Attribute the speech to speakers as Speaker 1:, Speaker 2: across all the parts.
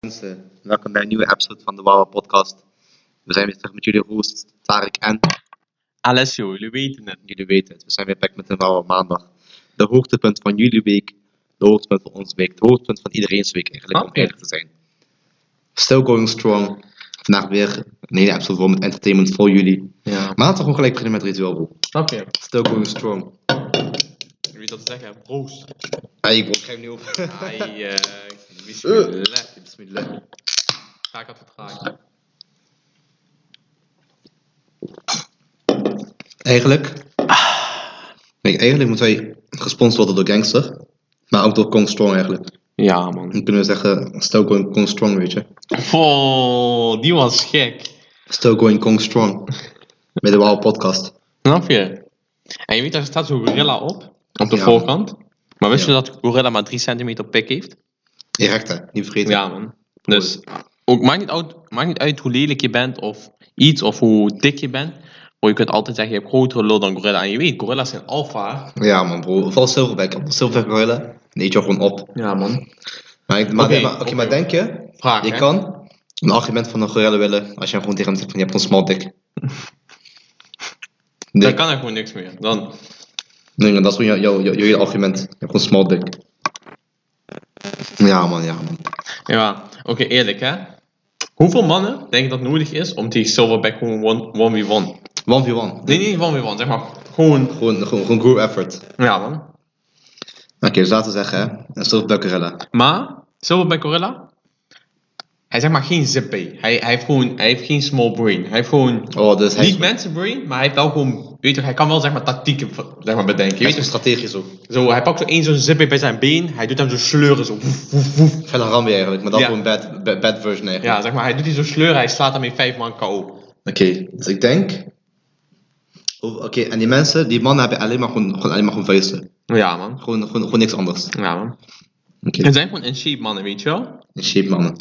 Speaker 1: mensen, welkom bij een nieuwe episode van de Wawa Podcast. We zijn weer terug met jullie host Tarek en Alessio. Jullie weten het, jullie weten het. We zijn weer back met een Wawa Maandag. De hoogtepunt van jullie week, de hoogtepunt van onze week, de hoogtepunt van iedereen's week eigenlijk, om
Speaker 2: Oké.
Speaker 1: eerlijk te zijn. Still going strong. Vandaag weer een hele episode vol met entertainment voor jullie.
Speaker 2: Ja.
Speaker 1: Maar laten we gewoon gelijk beginnen met ritueel, bro.
Speaker 2: Snap je?
Speaker 1: Still going strong.
Speaker 2: Je weet dat te zeggen, broos.
Speaker 1: Hey, ik ga hem niet op.
Speaker 2: Ai, eh,
Speaker 1: Eh.
Speaker 2: bismillah, bismillah. Ga ik had vertraagd.
Speaker 1: Eigenlijk. Nee, eigenlijk moeten wij gesponsord worden door Gangster. Maar ook door Kong Strong eigenlijk.
Speaker 2: Ja, man.
Speaker 1: Dan kunnen we zeggen, still going Kong Strong, weet je.
Speaker 2: Oh, die was gek.
Speaker 1: Still going Kong Strong. Met de Wow Podcast.
Speaker 2: Snap je? En je weet, daar staat zo'n gorilla op. Op de
Speaker 1: Ja.
Speaker 2: voorkant. Maar wist
Speaker 1: Ja.
Speaker 2: je dat gorilla maar 3 centimeter pik heeft?
Speaker 1: Direct hè, niet vergeten.
Speaker 2: Ja, man. Dus ook, maakt, niet uit, maakt niet uit hoe lelijk je bent of iets of hoe dik je bent. Maar je kunt altijd zeggen, je hebt grotere lul dan gorilla. En je weet, gorilla's zijn alfa.
Speaker 1: Ja, man bro, vooral Silverback. Op de Silverback Gorilla, nee, je gewoon op.
Speaker 2: Ja, man.
Speaker 1: Maar, ik- maar,
Speaker 2: Oké,
Speaker 1: maar, oké, maar
Speaker 2: oké.
Speaker 1: denk je,
Speaker 2: Vraag,
Speaker 1: je
Speaker 2: hè?
Speaker 1: kan een argument van een gorilla willen als je hem gewoon tegen hem zegt van je hebt een smal dik. Nee,
Speaker 2: Dan kan er gewoon niks meer. Dan,
Speaker 1: nee, dat is gewoon jouw jou, jou, jou hele argument. Je hebt gewoon een smal dik. Ja man, ja man.
Speaker 2: ja, oké, eerlijk hè. Hoeveel mannen denk je dat nodig is om tegen Silverback gewoon one- 1v1?
Speaker 1: 1v1.
Speaker 2: Nee, niet 1v1, zeg maar
Speaker 1: Gewoon,
Speaker 2: gewoon...
Speaker 1: gewoon, gewoon group effort. Oké,
Speaker 2: Ja man.
Speaker 1: dus laten we zeggen, hè. Silverback Gorilla.
Speaker 2: Maar, Silverback Gorilla, hij zegt maar geen zippy. Hij, hij, heeft gewoon, hij heeft geen small brain. Hij heeft gewoon...
Speaker 1: Oh, dus hij
Speaker 2: Niet
Speaker 1: is,
Speaker 2: mensen brain, maar hij heeft wel gewoon... Weet je, hij kan wel zeg maar tactieken zeg maar, bedenken.
Speaker 1: hij is
Speaker 2: Weet je?
Speaker 1: gewoon strategisch ook.
Speaker 2: Zo, hij pakt zo één zo'n zippy bij zijn been. Hij doet hem zo sleuren, zo... woef, woef, woef.
Speaker 1: Felle Rambi eigenlijk, maar dan
Speaker 2: Ja.
Speaker 1: gewoon bad, bad, bad version eigenlijk.
Speaker 2: Ja, zeg maar, hij doet die zo sleuren. Hij slaat hem in vijf man KO.
Speaker 1: Oké, dus ik denk. Oh, Oké, en die mensen, die mannen hebben alleen maar gewoon, gewoon, alleen maar gewoon vuisten.
Speaker 2: Ja man.
Speaker 1: Gewoon, gewoon, gewoon niks anders. Oké,
Speaker 2: Ja man. Het zijn gewoon in shape mannen, weet je wel?
Speaker 1: in shape mannen.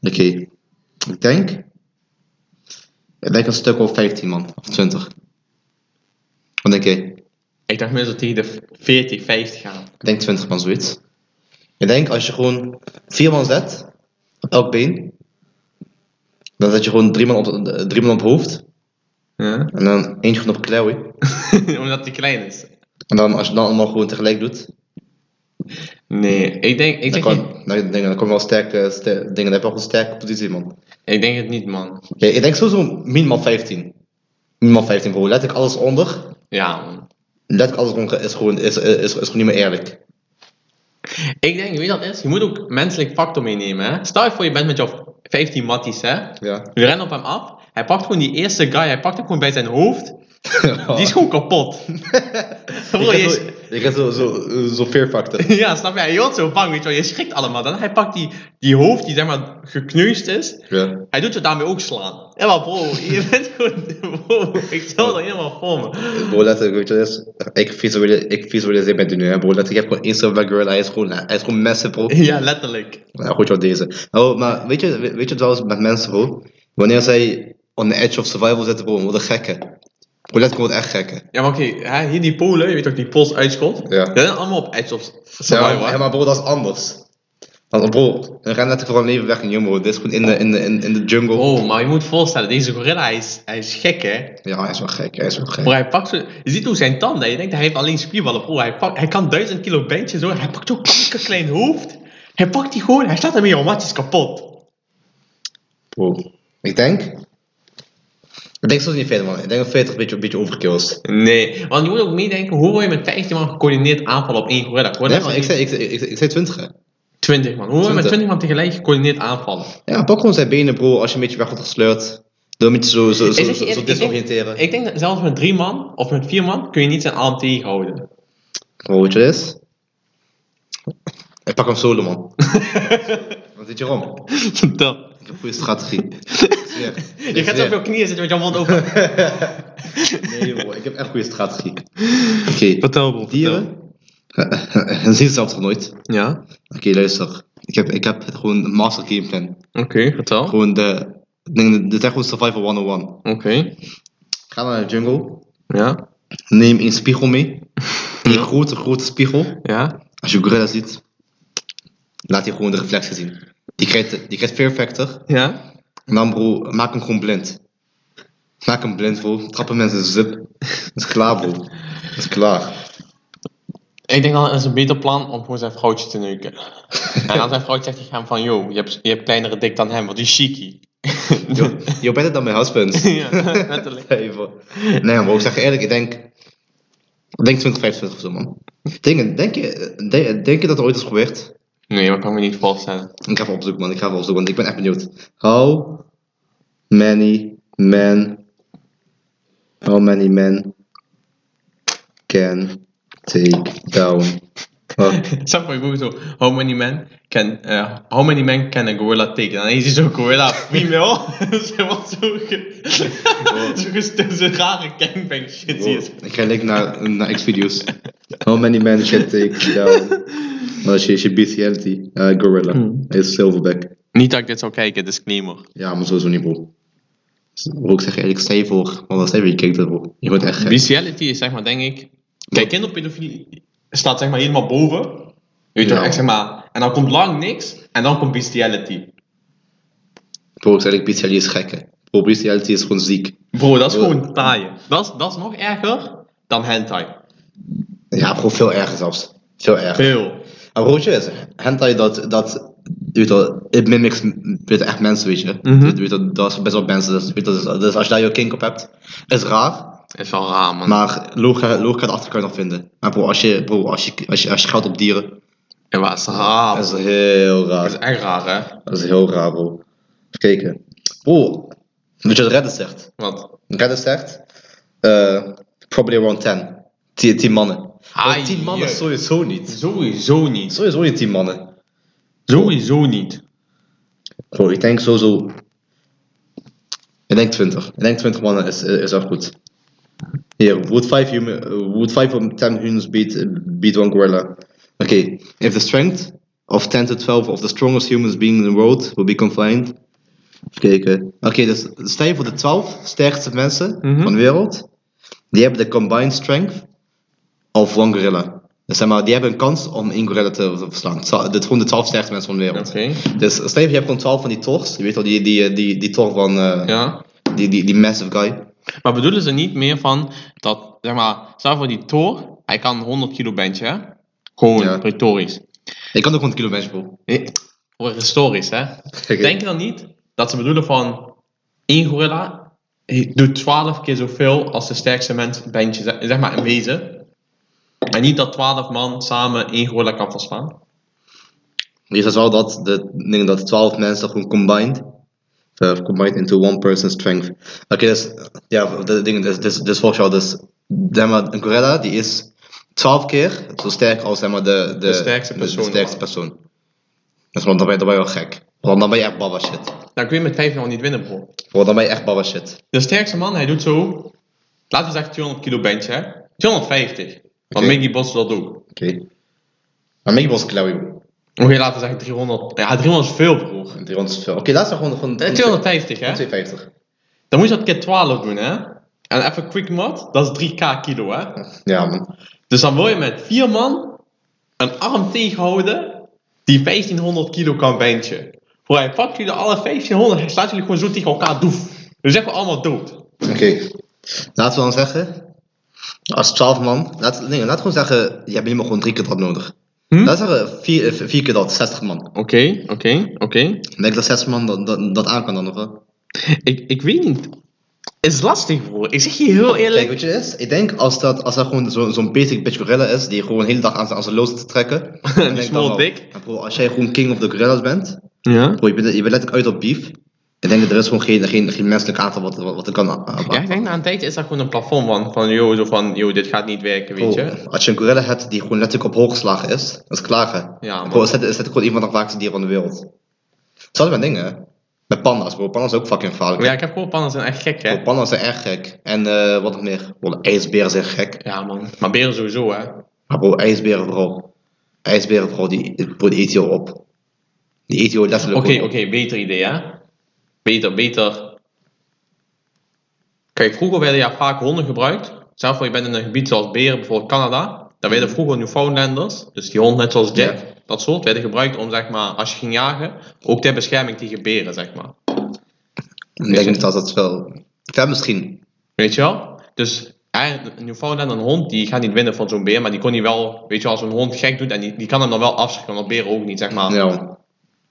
Speaker 1: Oké, ik denk. Ik denk een stuk of 15 man, of 20. Wat denk jij?
Speaker 2: Ik dacht mensen tegen de 40, 50 gaan.
Speaker 1: Ik denk 20 man zoiets. Ik denk als je gewoon 4 man zet op elk been, dan zet je gewoon 3 man op, eh, drie man op hoofd
Speaker 2: Ja.
Speaker 1: en dan eentje gewoon op klauwen.
Speaker 2: Omdat hij klein is.
Speaker 1: En dan als je dan allemaal gewoon tegelijk doet,
Speaker 2: Nee, ik denk, ik,
Speaker 1: dan,
Speaker 2: denk,
Speaker 1: kan,
Speaker 2: het-
Speaker 1: dan, dan, dan kom je wel sterk, eh, ster- dingen, dan heb je wel een sterke positie man.
Speaker 2: ik denk het niet, man.
Speaker 1: Oké, ik denk sowieso minimaal 15. Minimaal 15 bro, let ik alles onder,
Speaker 2: Ja, man.
Speaker 1: let ik alles onder is gewoon, is, is, is, is gewoon niet meer eerlijk.
Speaker 2: Ik denk, weet je wat het is? Je moet ook menselijk factor meenemen, hè? Stel je voor, je bent met jouw 15 matties, hè?
Speaker 1: Ja.
Speaker 2: Je rent op hem af. Hij pakt gewoon die eerste guy, hij pakt hem gewoon bij zijn hoofd. Die is gewoon kapot. Bro, je is-
Speaker 1: Ik heb zo'n zo, zo, zo fear factor.
Speaker 2: ja, snap je? Hij wordt zo bang, weet je wel. Je schrikt allemaal. Dan hij pakt die, die hoofd die zeg maar gekneusd is.
Speaker 1: Ja.
Speaker 2: Hij doet je daarmee ook slaan. Ja, maar bro, je bent gewoon... Bro, ik stel dat helemaal voor me.
Speaker 1: Bro, letterlijk, weet je, wat het is? ik visualiseer, ik visualiseer met die nu, hè, bro. Letterlijk, ik heb gewoon Instagram Gorilla, hij is gewoon, hij is gewoon massive, bro.
Speaker 2: Ja, letterlijk.
Speaker 1: Nou, goed, wat deze. Oh, maar weet je, weet je het wel eens met mensen, bro? Wanneer zij on the edge of survival zitten, bro, worden gekken. Bro, letterlijk worden echt gekken.
Speaker 2: Ja, maar oké, hè, hier die Polen, je weet toch, die Pools uitschot?
Speaker 1: Ja.
Speaker 2: Dat zijn allemaal op Edge of
Speaker 1: Ja,
Speaker 2: Survival.
Speaker 1: maar,
Speaker 2: hè?
Speaker 1: ja, maar bro, dat is anders. Want bro, dan ren letterlijk voor een leven weg in Jumbo. Dit is gewoon in de, in de, in, in de jungle.
Speaker 2: Oh, maar je moet voorstellen, deze gorilla, hij is, hij is gek, hè?
Speaker 1: Ja, hij is wel gek, hij is wel gek.
Speaker 2: Bro, hij pakt zo... Je ziet hoe zijn tanden, je denkt, hij heeft alleen spierballen. Bro, hij, pakt, hij kan duizend kilo bandje zo, hij pakt zo'n kanker klein hoofd. Hij pakt die gewoon, hij staat ermee automatisch kapot.
Speaker 1: Bro. Ik denk... Ik denk soms niet verder, man. Ik denk dat 40 een beetje, een beetje overkill is.
Speaker 2: Nee, want je moet ook meedenken, hoe wil je met 15 man gecoördineerd aanvallen op één gorilla? Gorilla
Speaker 1: Nee,
Speaker 2: is
Speaker 1: maar ik
Speaker 2: niet-
Speaker 1: zei, ik zei, ik zei, ik zei 20, hè.
Speaker 2: 20 man. Hoe wil je met
Speaker 1: 20?
Speaker 2: 20 man tegelijk gecoördineerd aanvallen?
Speaker 1: Ja, pak gewoon zijn benen, bro. Als je een beetje weg wordt gesleurd. Door een beetje zo, zo,
Speaker 2: Ik zeg
Speaker 1: zo,
Speaker 2: je
Speaker 1: zo,
Speaker 2: eerlijk,
Speaker 1: zo
Speaker 2: ik denk-
Speaker 1: disoriënteren.
Speaker 2: Ik denk dat zelfs met 3 man of met 4 man kun je niet zijn arm tegenhouden.
Speaker 1: Bro, weet je wat het is? Ik pak hem solo, man. Wat zit je om?
Speaker 2: Dat.
Speaker 1: Ik heb goede strategie. Zweer.
Speaker 2: Je gaat zo op je knieën zitten met je mond open.
Speaker 1: Nee, bro, ik heb echt goede strategie. Oké,
Speaker 2: Vertel bro,
Speaker 1: dieren. En zien ze zelf toch nooit? Oké,
Speaker 2: Ja,
Speaker 1: luister. Ik heb, ik heb gewoon een master gameplan.
Speaker 2: oké, vertel. Oké.
Speaker 1: Gewoon de. ik denk, Dit is echt gewoon survival 101. Ga naar de jungle.
Speaker 2: Ja,
Speaker 1: Neem een spiegel mee. Een grote, grote spiegel.
Speaker 2: ja.
Speaker 1: Als je gorilla ziet, laat hij gewoon de reflectie zien. Die krijgt, die krijgt Fear Factor.
Speaker 2: Ja?
Speaker 1: En dan bro, maak hem gewoon blind. Maak hem blind bro. Trappen mensen zip. Dat is klaar bro. Dat is klaar.
Speaker 2: Ik denk dan is het een beter plan om gewoon zijn vrouwtje te neuken. En als zijn vrouwtje zegt tegen hem van, yo, je hebt, je hebt kleinere dik dan hem, want die is cheeky.
Speaker 1: Yo, yo better than my husband.
Speaker 2: ja, letterlijk.
Speaker 1: Nee, bro. Nee, bro, ik zeg je eerlijk, ik denk. Ik denk 2025 of zo, man. Denk, denk, je, denk, denk je dat er ooit is gebeurd?
Speaker 2: Nee, dat kan ik me niet voorstellen.
Speaker 1: Ik ga even opzoeken, man. Ik ga even opzoeken, want ik ben echt benieuwd. How many men. How many men. Can take down. a-
Speaker 2: Snap je, gewoon zo, how many men can, eh, how many men can a gorilla take? En dan is hij zo, gorilla, female. ze was zo, ge, zo, gest- zo'n rare gangbang shit. zie je.
Speaker 1: Ik ga link naar, naar X-videos. How many men can take down. Oh, she, she beats the empty uh, gorilla. Is silverback.
Speaker 2: Niet dat ik dit zou kijken, disclaimer.
Speaker 1: Ja, maar sowieso niet, bro. Bro, ik zeg je eerlijk, stel je voor. Want stel je voor, je kijkt ervoor. Je wordt echt gek.
Speaker 2: Bestiality is zeg maar, denk ik. Kijk, kinderpedofilie staat zeg maar helemaal boven. Weet je
Speaker 1: Ja.
Speaker 2: wel, echt zeg maar. En dan komt lang niks, en dan komt bestiality.
Speaker 1: Bro, ik zeg eerlijk, bestiality is gek, hè. Bro, bestiality is gewoon ziek.
Speaker 2: Bro, dat is
Speaker 1: Bro.
Speaker 2: gewoon taaien. Dat is, dat is nog erger dan hentai.
Speaker 1: Ja, bro, veel erger zelfs. Veel erger.
Speaker 2: Veel.
Speaker 1: En broertje is, hentai dat, dat, weet je wel, it mimics, weet je, echt mensen, weet je. Weet je wel, dat is best wel mensen, dus, weet je wel, dus, dus als je daar je kink op hebt, is raar.
Speaker 2: Is wel raar, man.
Speaker 1: Maar logica, logica erachter kan je nog vinden. Maar bro, als je, bro, als je, als je, als je geld op dieren,
Speaker 2: En waar is raar?
Speaker 1: dat is heel
Speaker 2: Dat
Speaker 1: raar.
Speaker 2: is echt raar, hè?
Speaker 1: Dat is heel raar, bro. Even kijken. Bro, weet je wat Reddit zegt?
Speaker 2: Want
Speaker 1: Reddit zegt, eh, probably around 10. 10, 10 mannen.
Speaker 2: Ai,
Speaker 1: 10 mannen
Speaker 2: jee.
Speaker 1: sowieso niet.
Speaker 2: sowieso niet.
Speaker 1: Sowieso niet 10 mannen.
Speaker 2: Sowieso niet.
Speaker 1: Bro, ik denk sowieso... Ik denk 20. Ik denk 20 mannen is, eh, is echt goed. Hier, would 5 human, eh, would 5 of 10 humans beat, eh, beat one gorilla? Oké, if the strength of 10 to 12 of the strongest humans being in the world will be confined. Even kijken. Oké, dus stel je voor de 12 sterkste mensen
Speaker 2: Mhm.
Speaker 1: van de wereld. Die hebben de combined strength of one gorilla. Dus zeg maar, die hebben een kans om één gorilla te verslaan. Twa- Dit gewoon de 12 sterkste mensen van de wereld.
Speaker 2: Oké.
Speaker 1: Dus stel je voor, je hebt gewoon 12 van die tor's. Je weet wel, die, die, die, die tor van eh,
Speaker 2: Ja.
Speaker 1: die, die, die massive guy.
Speaker 2: Maar bedoelen ze niet meer van dat, zeg maar, stel voor die Thor, hij kan een 100 kilo bandje, hè? Gewoon
Speaker 1: Ja.
Speaker 2: retorisch.
Speaker 1: Ik kan ook gewoon een kilo bench bro.
Speaker 2: Nee, Voor historisch, hè? Denk je dan niet dat ze bedoelen van één gorilla doet 12 keer zoveel als de sterkste mens bandje, zeg zeg maar, een wezen? En niet dat 12 man samen één gorilla kan verslaan?
Speaker 1: Je zegt wel dat de, nee, dat 12 mensen gewoon combined. eh, combined into one person's strength. Oké, dus eh, ja, dat ding, dus, dus, dus volgens jou, dus, zeg maar, een gorilla die is 12 keer zo sterk als zeg maar, de, de,
Speaker 2: sterkste
Speaker 1: de-
Speaker 2: persoon.
Speaker 1: De, sterkste persoon. Dus man, dan ben, je, dan ben je wel gek. Want dan ben je echt baba shit.
Speaker 2: Dan kun je met 5 nog niet winnen, bro.
Speaker 1: Want dan ben je echt baba shit.
Speaker 2: De sterkste man, hij doet zo, laten we zeggen 200 kilo bandje, hè? 250. Want
Speaker 1: Oké.
Speaker 2: Mickey Boss doet dat ook.
Speaker 1: Oké. Maar Mickey was klauw, joh.
Speaker 2: Oké, laten we zeggen 300. Ja, 300 is veel, broer.
Speaker 1: 300 is veel. Oké, laatste gewoon, gewoon
Speaker 2: Eh, 250, hè?
Speaker 1: 250.
Speaker 2: Dan moet je dat keer 12 doen, hè? En even quick mod, dat is 3k kilo, hè?
Speaker 1: Ja, man.
Speaker 2: Dus dan wil je met vier man een arm tegenhouden die 1500 kilo kan bandje. Voor hij pakt jullie alle 1500 en slaat jullie gewoon zo tegen elkaar doef. Dan zijn we allemaal dood.
Speaker 1: Oké. Laten we dan zeggen, als 12 man, laat, nee, laat gewoon zeggen, je hebt minimaal gewoon drie keer dat nodig.
Speaker 2: Hm?
Speaker 1: Laten we zeggen, vier, eh, vier keer dat, 60 man.
Speaker 2: Oké, oké, oké.
Speaker 1: Ik denk dat 60 man dat, dat, dat aan kan dan nog wel.
Speaker 2: Ik, ik weet niet. Het is lastig, broer. Ik zeg je heel
Speaker 1: Kijk,
Speaker 2: eerlijk.
Speaker 1: weet je wat het is? Ik denk als dat, als dat gewoon zo- zo'n basic bitch gorilla is, die gewoon de hele dag aan zijn, aan zijn loos te trekken. dan denk ik
Speaker 2: small
Speaker 1: dan wel.
Speaker 2: dick.
Speaker 1: En bro, als jij gewoon king of the gorillas bent,
Speaker 2: Ja?
Speaker 1: bro, je bent, je bent letterlijk uit op beef. Ik denk dat er is gewoon geen, geen, geen menselijk aantal wat, wat, wat er kan eh, aan-
Speaker 2: Ja, ik denk na een tijdje is dat gewoon een plafond van, van yo, zo van, yo, dit gaat niet werken, weet
Speaker 1: Bro,
Speaker 2: je.
Speaker 1: Oh. Als je een gorilla hebt die gewoon letterlijk op hoog geslagen is, dat is klagen.
Speaker 2: Ja, man.
Speaker 1: bro, is het, is het gewoon een van de gevaarlijkste dieren van de wereld. Hetzelfde met dingen, hè. Met panda's, bro. Panda's zijn ook fucking gevaarlijk.
Speaker 2: Maar ja, ik heb gehoord, pannen zijn echt gek, hè.
Speaker 1: Bro, panda's zijn echt gek. En eh, wat nog meer? Bro, ijsberen zijn gek.
Speaker 2: Ja, man. Maar beren sowieso, hè.
Speaker 1: Maar bro, ijsberen vooral. Ijsberen vooral, die, bro, die eet je op. Die eet je letterlijk
Speaker 2: Oké,
Speaker 1: gewoon
Speaker 2: oké,
Speaker 1: op.
Speaker 2: beter idee, hè? Beter, beter. Kijk, vroeger werden ja vaak honden gebruikt. Zelfs Mm. voor je bent in een gebied zoals Beren, bijvoorbeeld Canada. Daar werden vroeger Newfoundlanders, dus die hond net zoals Jack,
Speaker 1: Ja.
Speaker 2: dat soort, werden gebruikt om, zeg maar, als je ging jagen, ook ter bescherming tegen beren, zeg maar.
Speaker 1: Ik denk niet dat dat wel... Ja, misschien.
Speaker 2: Weet je wel? Dus eigenlijk, een Newfoundland, een hond, die gaat niet winnen van zo'n beer, maar die kon hij wel, weet je wel, als een hond gek doet, en die, die kan hem dan wel afschrikken, want beren ook niet, zeg maar.
Speaker 1: Ja.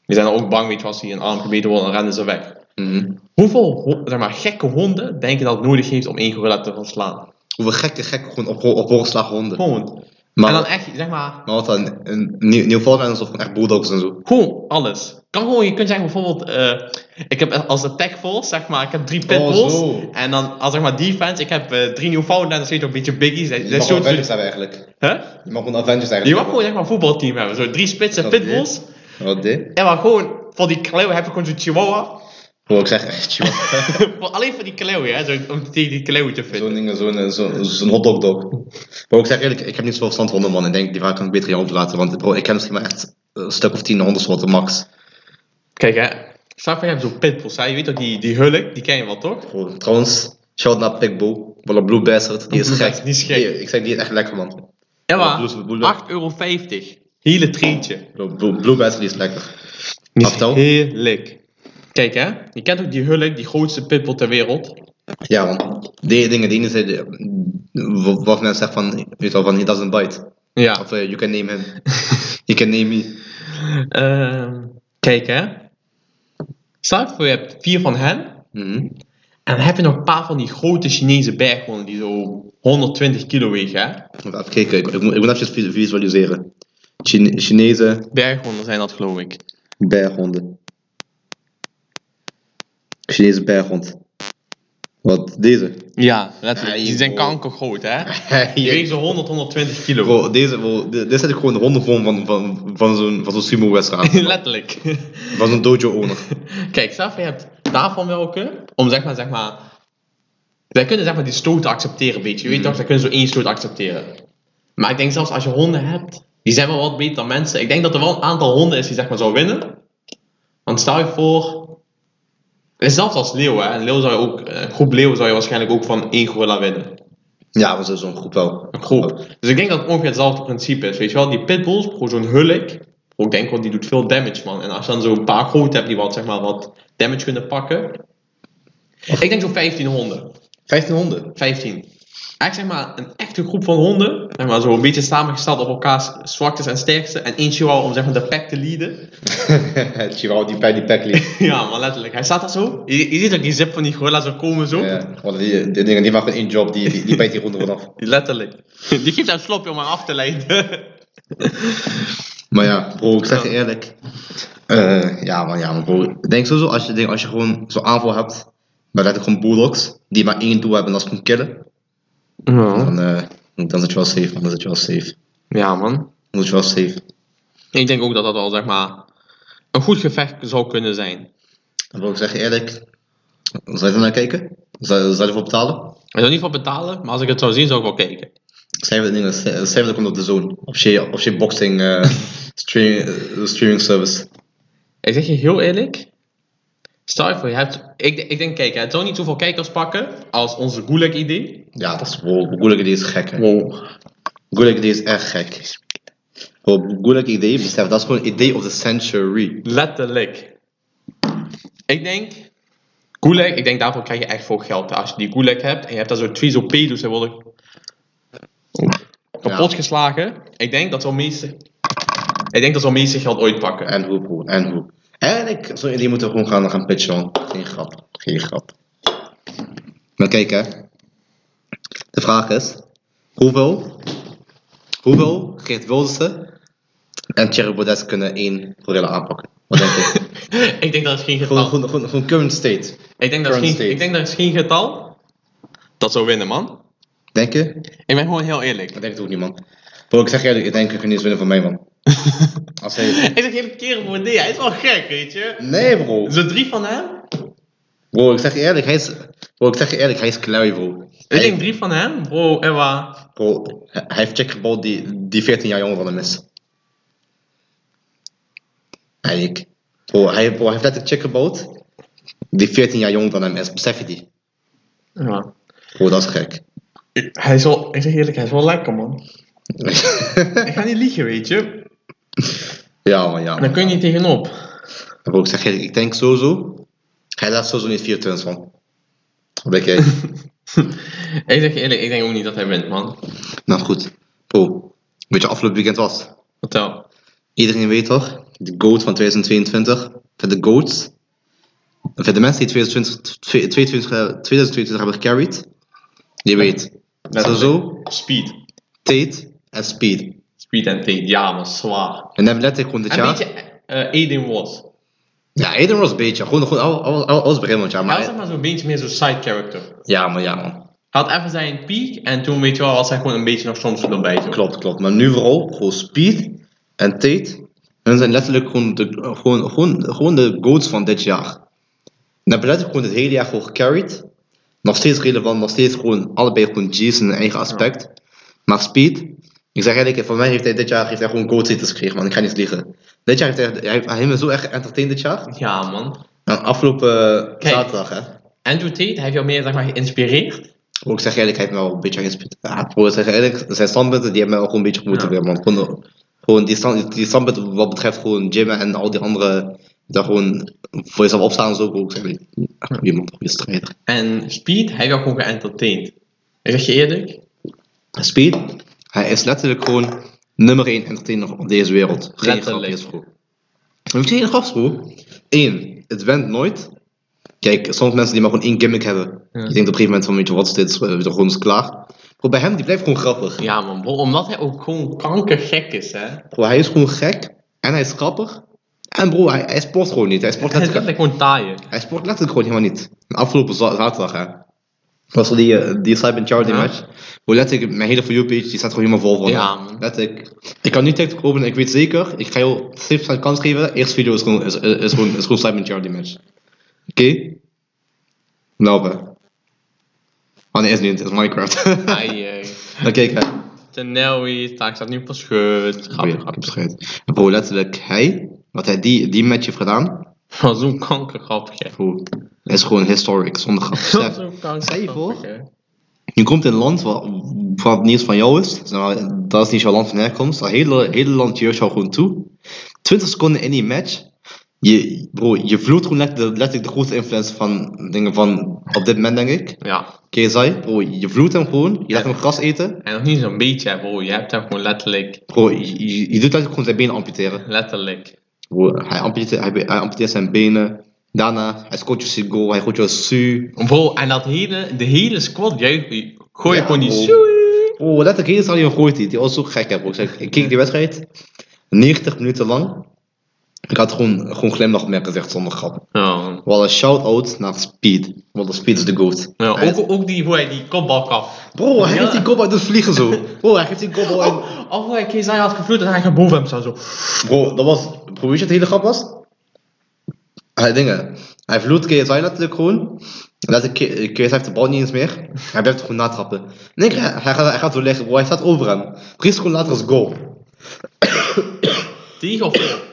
Speaker 2: Die zijn dan ook bang, weet je wel, als die een arm gebeten worden, dan rennen ze weg.
Speaker 1: Mhm.
Speaker 2: Hoeveel ho- zeg maar, gekke honden denk je dat het nodig heeft om één gorilla te verslaan?
Speaker 1: Hoeveel gekke, gekke gewoon op, op hoorslag honden.
Speaker 2: Gewoon.
Speaker 1: Maar,
Speaker 2: En dan echt, zeg maar,
Speaker 1: maar wat dan? Een nieuw, nieuw voorbeeld of gewoon echt bulldogs en zo.
Speaker 2: gewoon alles. Kan gewoon, je kunt zeggen bijvoorbeeld, eh, ik heb als attack force, zeg maar, ik heb drie pitbulls.
Speaker 1: Oh, zo.
Speaker 2: en dan als zeg maar defense, ik heb eh, drie Newfoundlanders, weet je, wel, een beetje biggies. Dat,
Speaker 1: Je
Speaker 2: dat
Speaker 1: mag gewoon
Speaker 2: soort,
Speaker 1: Avengers hebben eigenlijk.
Speaker 2: hè?
Speaker 1: Je mag gewoon Avengers eigenlijk
Speaker 2: Je mag gewoon
Speaker 1: hebben.
Speaker 2: zeg maar een voetbalteam hebben, zo drie spitsen
Speaker 1: Dat is
Speaker 2: pitbulls.
Speaker 1: Wat dit?
Speaker 2: Ja, maar gewoon, voor die kleeuw heb je gewoon zo'n chihuahua.
Speaker 1: Hoe ik zeg, echt joh.
Speaker 2: Voor- Alleen voor die kleeuw, hè, zo, om tegen die kleeuw te vinden.
Speaker 1: Zo'n ding, zo'n zo, zo'n hotdog dog. Maar ik zeg eerlijk, ik heb niet zoveel verstand van honden man. Ik denk, die vraag kan ik beter aan jou overlaten. Want bro, ik ken misschien maar echt een stuk of tien hondensoorten max.
Speaker 2: Kijk hè, straks heb je zo'n pitbulls, hè. je weet toch, die, die hulk, die ken je wel toch?
Speaker 1: Bro, trouwens, shout naar Pitbull. Wel een Blue Bastard, die is
Speaker 2: Blue
Speaker 1: gek.
Speaker 2: Bastard, die is gek.
Speaker 1: Die- ik zeg, die is echt lekker man.
Speaker 2: Ja,
Speaker 1: Ja, bloes- bloes-
Speaker 2: maar 8,50 euro. Hele treetje.
Speaker 1: Bro, Blue, Blue Bastard, die is lekker.
Speaker 2: Is
Speaker 1: vertel.
Speaker 2: Heerlijk. Kijk hè, je kent ook die Hulk, die grootste pitbull ter wereld.
Speaker 1: Ja man, die dingen, die zijn, wat wat mensen zeggen van, weet je wel, van, he doesn't bite.
Speaker 2: Ja.
Speaker 1: Of eh, you can name him. you can name me.
Speaker 2: Ehm, kijk hè. Stel je voor je hebt vier van hen.
Speaker 1: Mhm.
Speaker 2: En dan heb je nog een paar van die grote Chinese berghonden die zo 120 kilo wegen hè.
Speaker 1: Even kijken, ik, ik, moet, ik moet even vis- visualiseren. Chine Chinese
Speaker 2: Berghonden zijn dat geloof ik.
Speaker 1: berghonden. Chinese berghond. Wat, deze?
Speaker 2: Ja, letterlijk.
Speaker 1: Ja,
Speaker 2: die zijn
Speaker 1: joh.
Speaker 2: kankergroot hè. Die wegen zo 100, 120 kilo.
Speaker 1: Bro, deze, bro, di- dit zijn gewoon de honden gewoon van, van, van zo'n van zo'n sumo-wedstrijd.
Speaker 2: letterlijk.
Speaker 1: Van zo'n dojo-owner.
Speaker 2: Kijk, zelf je hebt daarvan welke, om zeg maar, zeg maar, zij kunnen zeg maar die stoten accepteren een beetje. Je weet toch, zij kunnen zo één stoot accepteren. Maar ik denk zelfs als je honden hebt, die zijn wel wat beter dan mensen. Ik denk dat er wel een aantal honden is die zeg maar zou winnen. Want stel je voor, en zelfs als leeuw hè, een leeuw zou je ook, een groep leeuwen zou je waarschijnlijk ook van één gorilla winnen.
Speaker 1: Ja, maar zo- zo'n groep wel.
Speaker 2: Een groep. Dus ik denk dat het ongeveer hetzelfde principe is. Weet je wel, die pitbulls, gewoon zo'n hulk. Ik denk wel, die doet veel damage, man. En als je dan zo'n paar groot hebt die wat, zeg maar, wat damage kunnen pakken. Ik denk zo'n 15 honden.
Speaker 1: 15 honden.
Speaker 2: 15. Eigenlijk zeg maar een echte groep van honden. Zeg maar zo'n beetje samengesteld op elkaars zwaktes en sterkste. En één chihuahua om zeg maar de pack te leaden.
Speaker 1: Chihuahua, die bij die pack
Speaker 2: ja, maar letterlijk. Hij staat daar zo. Je, je ziet ook die zip van die gorilla zo komen zo.
Speaker 1: Ja, want eh, die, die dingen, die maken één job, die, die, die bijt die honden vanaf.
Speaker 2: Letterlijk. Die geeft daar een slopje om haar af te leiden.
Speaker 1: Maar ja, bro, ik zeg je eerlijk. Eh, ja, man, ja, man, bro. Ik denk sowieso, als je, denk, als je gewoon zo'n aanval hebt, maar dat ik gewoon bulldogs, die maar één doel hebben, dat is gewoon killen, dan, eh, dan zit je wel safe, man, dan zit je wel safe.
Speaker 2: Ja, man.
Speaker 1: Dan zit je wel safe.
Speaker 2: Ik denk ook dat dat wel zeg maar een goed gevecht zou kunnen zijn.
Speaker 1: Dan wil ik zeggen eerlijk, zou je er naar kijken? Zou, zou je ervoor betalen?
Speaker 2: Ik zou niet voor betalen, maar als ik het zou zien zou ik wel kijken.
Speaker 1: Schrijf het in, eh, schrijf het komt op de zone. Op je, op je boxing eh, stream- eh, streaming service.
Speaker 2: Ik zeg je heel eerlijk. Stel je voor, je hebt, ik, ik denk, kijk, hè, het zou niet zoveel kijkers pakken als onze Gulag-idee.
Speaker 1: Ja, dat is, wow, Gulag die is gek, hè.
Speaker 2: Wow.
Speaker 1: Gulag die is echt gek. Wow, Gulag idee, besef, dat is gewoon een idee of the century.
Speaker 2: Letterlijk. Ik denk, Gulag, ik denk daarvoor krijg je echt veel geld. Als je die Gulag hebt en je hebt daar zo twee zo'n pedo's, die worden kapot geslagen. Ik denk dat ze wel meeste, ik denk dat ze wel meeste geld ooit pakken.
Speaker 1: En hoe, broer, en hoe. Eigenlijk, zo, die moeten gewoon gaan, gaan pitchen, man. Geen grap, geen grap. Maar kijk, hè. De vraag is, hoeveel, hoeveel Geert Wildersen en Thierry Baudet kunnen één gorilla aanpakken? Wat denk je?
Speaker 2: ik denk dat het geen
Speaker 1: gewoon,
Speaker 2: getal.
Speaker 1: gewoon, gewoon, gewoon current state.
Speaker 2: Ik denk dat het
Speaker 1: current
Speaker 2: geen,
Speaker 1: state.
Speaker 2: ik denk dat het geen getal. Dat zou winnen, man.
Speaker 1: Denk je?
Speaker 2: Ik ben gewoon heel eerlijk.
Speaker 1: Dat denk ik ook niet, man. Bro, ik zeg je eerlijk, ik denk, ik kan niet eens winnen van mij, man. Als hij...
Speaker 2: Ik zeg hele keer voor nee, hij is wel gek, weet je.
Speaker 1: Nee, bro.
Speaker 2: Zo drie van hem.
Speaker 1: Bro, ik zeg je eerlijk, hij is... Bro, ik zeg je eerlijk, hij is klui, bro.
Speaker 2: Ik
Speaker 1: Hij-
Speaker 2: denk drie van hem. Bro, Ewa.
Speaker 1: Bro, hij hij heeft check gebouwd die, die 14 jaar jonger dan hem is. Eigenlijk. Bro, hij, bro, hij heeft letterlijk check gebouwd die 14 jaar jonger dan hem is. Besef je die?
Speaker 2: Ja.
Speaker 1: Bro, dat is gek.
Speaker 2: Hij is wel, ik zeg eerlijk, hij is wel lekker, man. Ik ga niet liegen, weet je.
Speaker 1: Ja, maar ja.
Speaker 2: En daar kun je niet tegenop.
Speaker 1: Maar ook zeg, ik denk sowieso. Hij laat sowieso niet 24 van. Wat jij?
Speaker 2: Ik zeg je eerlijk, ik denk ook niet dat hij wint, man.
Speaker 1: nou goed. Po. Weet je, afgelopen weekend was.
Speaker 2: Vertel.
Speaker 1: Iedereen weet toch? De GOAT van 2022. Voor de GOATs. En voor de mensen die 2020, 2022, eh, 2022 hebben gecarried. Je weet. Sowieso,
Speaker 2: Speed.
Speaker 1: Tate en Speed.
Speaker 2: Speed en Tate, ja, maar zwaar.
Speaker 1: En dan letterlijk gewoon dit
Speaker 2: En
Speaker 1: jaar.
Speaker 2: weet je, eh Aiden was.
Speaker 1: Ja, Aiden was een beetje. Gewoon, gewoon al, al, al, alles Bremmond, ja.
Speaker 2: Hij was
Speaker 1: Maar,
Speaker 2: zeg maar zo'n beetje meer zo'n side character.
Speaker 1: ja, maar ja, man.
Speaker 2: Hij had even zijn piek en toen, weet je wel, was hij gewoon een beetje nog soms erbij. Zo.
Speaker 1: Klopt, klopt. Maar nu vooral gewoon Speed en Tate. Hun zijn letterlijk gewoon de, gewoon, gewoon, gewoon de goats van dit jaar. En hebben letterlijk gewoon het hele jaar gewoon gecarried. Nog steeds relevant, nog steeds gewoon allebei gewoon G's in hun eigen aspect. Maar Speed, ik zeg eigenlijk, voor mij heeft hij dit jaar heeft hij gewoon goat titels gekregen, man. Ik ga niet liegen. Dit jaar heeft hij, hij, heeft- hij heeft me zo erg entertained dit jaar.
Speaker 2: Ja, man.
Speaker 1: En afgelopen eh,
Speaker 2: Kijk.
Speaker 1: zaterdag, hè.
Speaker 2: Andrew Tate, hij heeft jou meer, zeg maar, geïnspireerd.
Speaker 1: Ook ik zeg eerlijk, hij heeft me wel een beetje geïnspireerd. Ja, bro, ik zeg eerlijk, zijn standpunten die hebben mij wel gewoon een beetje gemotiveerd, man. Gewoon, gewoon die, stand, die standpunten wat betreft gewoon gymmen en al die andere, daar gewoon voor jezelf opstaan en zo. Ook, zeg, ik, echt iemand, goede strijder.
Speaker 2: En Speed, hij heeft jou gewoon geëntertained. Ik zeg je eerlijk,
Speaker 1: Speed, hij is letterlijk gewoon nummer 1 entertainer op deze wereld. Geen
Speaker 2: Letterlijk.
Speaker 1: grapjes, bro. Weet je, geen grapjes, bro. Eén, het went nooit. Kijk, soms mensen die maar gewoon één gimmick hebben. Je
Speaker 2: Ja.
Speaker 1: denkt op een gegeven moment van, weet je wat is dit, we zijn gewoon eens klaar. Bro, bij hem, die blijft gewoon grappig.
Speaker 2: ja, man, bro, omdat hij ook gewoon kankergek is, hè.
Speaker 1: Bro, hij is gewoon gek en hij is grappig. En bro, hij, hij sport gewoon niet. Hij sport
Speaker 2: Hij is
Speaker 1: letterlijk,
Speaker 2: letterlijk gewoon taaien.
Speaker 1: hij sport letterlijk gewoon helemaal niet. De afgelopen za- zaterdag, hè. Was er die, eh, die Cyber Charity
Speaker 2: Ja.
Speaker 1: match. Hoe letterlijk, mijn hele For You page, die staat gewoon helemaal vol van.
Speaker 2: Ja,
Speaker 1: hè.
Speaker 2: man.
Speaker 1: Letterlijk. Ik kan nu TikTok openen, ik weet zeker. Ik ga jou 70% kans geven. Eerste video is gewoon, is, is, is gewoon, is gewoon Cyber Charity match. Oké? Nou, hè. Oh nee, is niet. Het is Minecraft.
Speaker 2: Ai, ai.
Speaker 1: Dan kijk, hè.
Speaker 2: Tenelli, taak staat nu op een schut.
Speaker 1: Grapje,
Speaker 2: Grapje,
Speaker 1: ik heb
Speaker 2: grapje.
Speaker 1: bescheid. Bro, letterlijk, hij, wat hij die, die match heeft gedaan,
Speaker 2: Van zo'n kankergrapje.
Speaker 1: bro, is gewoon historic, zonder grap.
Speaker 2: Van
Speaker 1: Besef,
Speaker 2: zo'n
Speaker 1: Stel je voor.
Speaker 2: kankergrapje.
Speaker 1: je komt in een land waar, waar het niets van jou is, zeg maar, dat is niet jouw land van herkomst, dat hele, hele land jeurt jou gewoon toe. 20 seconden in die match, je, bro, je vloeit gewoon letterlijk, letterlijk de grootste influence van, dingen van op dit moment, denk ik.
Speaker 2: Ja,
Speaker 1: KSI, bro, je vloeit hem gewoon, je laat hem gras eten,
Speaker 2: en nog niet zo'n beetje, hè, bro. Je hebt hem gewoon letterlijk,
Speaker 1: bro, je, je, je doet letterlijk gewoon zijn benen amputeren.
Speaker 2: letterlijk.
Speaker 1: Bro, hij, amputeert, hij, hij amputeert zijn benen. Daarna, hij scoort je zijn goal, hij gooit je su.
Speaker 2: Bro, en dat hele, de hele squad, jij gooi je
Speaker 1: Ja,
Speaker 2: gewoon die
Speaker 1: bro.
Speaker 2: zoei.
Speaker 1: Oh, letterlijk, hier is al een gooit die. Die was zo gek, hè, bro. Ik, zeg, ik keek die wedstrijd, 90 minuten lang. Ik had gewoon, gewoon glimlach op mijn gezicht, zonder grap.
Speaker 2: Ja,
Speaker 1: Wat een shout-out naar Speed. Want de Speed is de goat.
Speaker 2: Ja,
Speaker 1: Hij is-
Speaker 2: ook, ook die, hoe hij die kopbal gaf.
Speaker 1: Bro, hij
Speaker 2: Ja.
Speaker 1: heeft die goal uit het vliegen zo. Bro, hij heeft die
Speaker 2: Oh,
Speaker 1: goal uit...
Speaker 2: Of hoe hij Kezai had gevloed en hij gaat boven hem staan zo.
Speaker 1: Bro, dat was. Bro, weet je wat de hele grap was? Hij dingen. Hij vloed KSI letterlijk gewoon. Letterlijk, K- KSI heeft de bal niet eens meer. Hij blijft gewoon natrappen. En ik, hij, hij gaat, hij gaat zo liggen, bro. Hij staat over hem. Priest gewoon later als goal.
Speaker 2: Tegen of...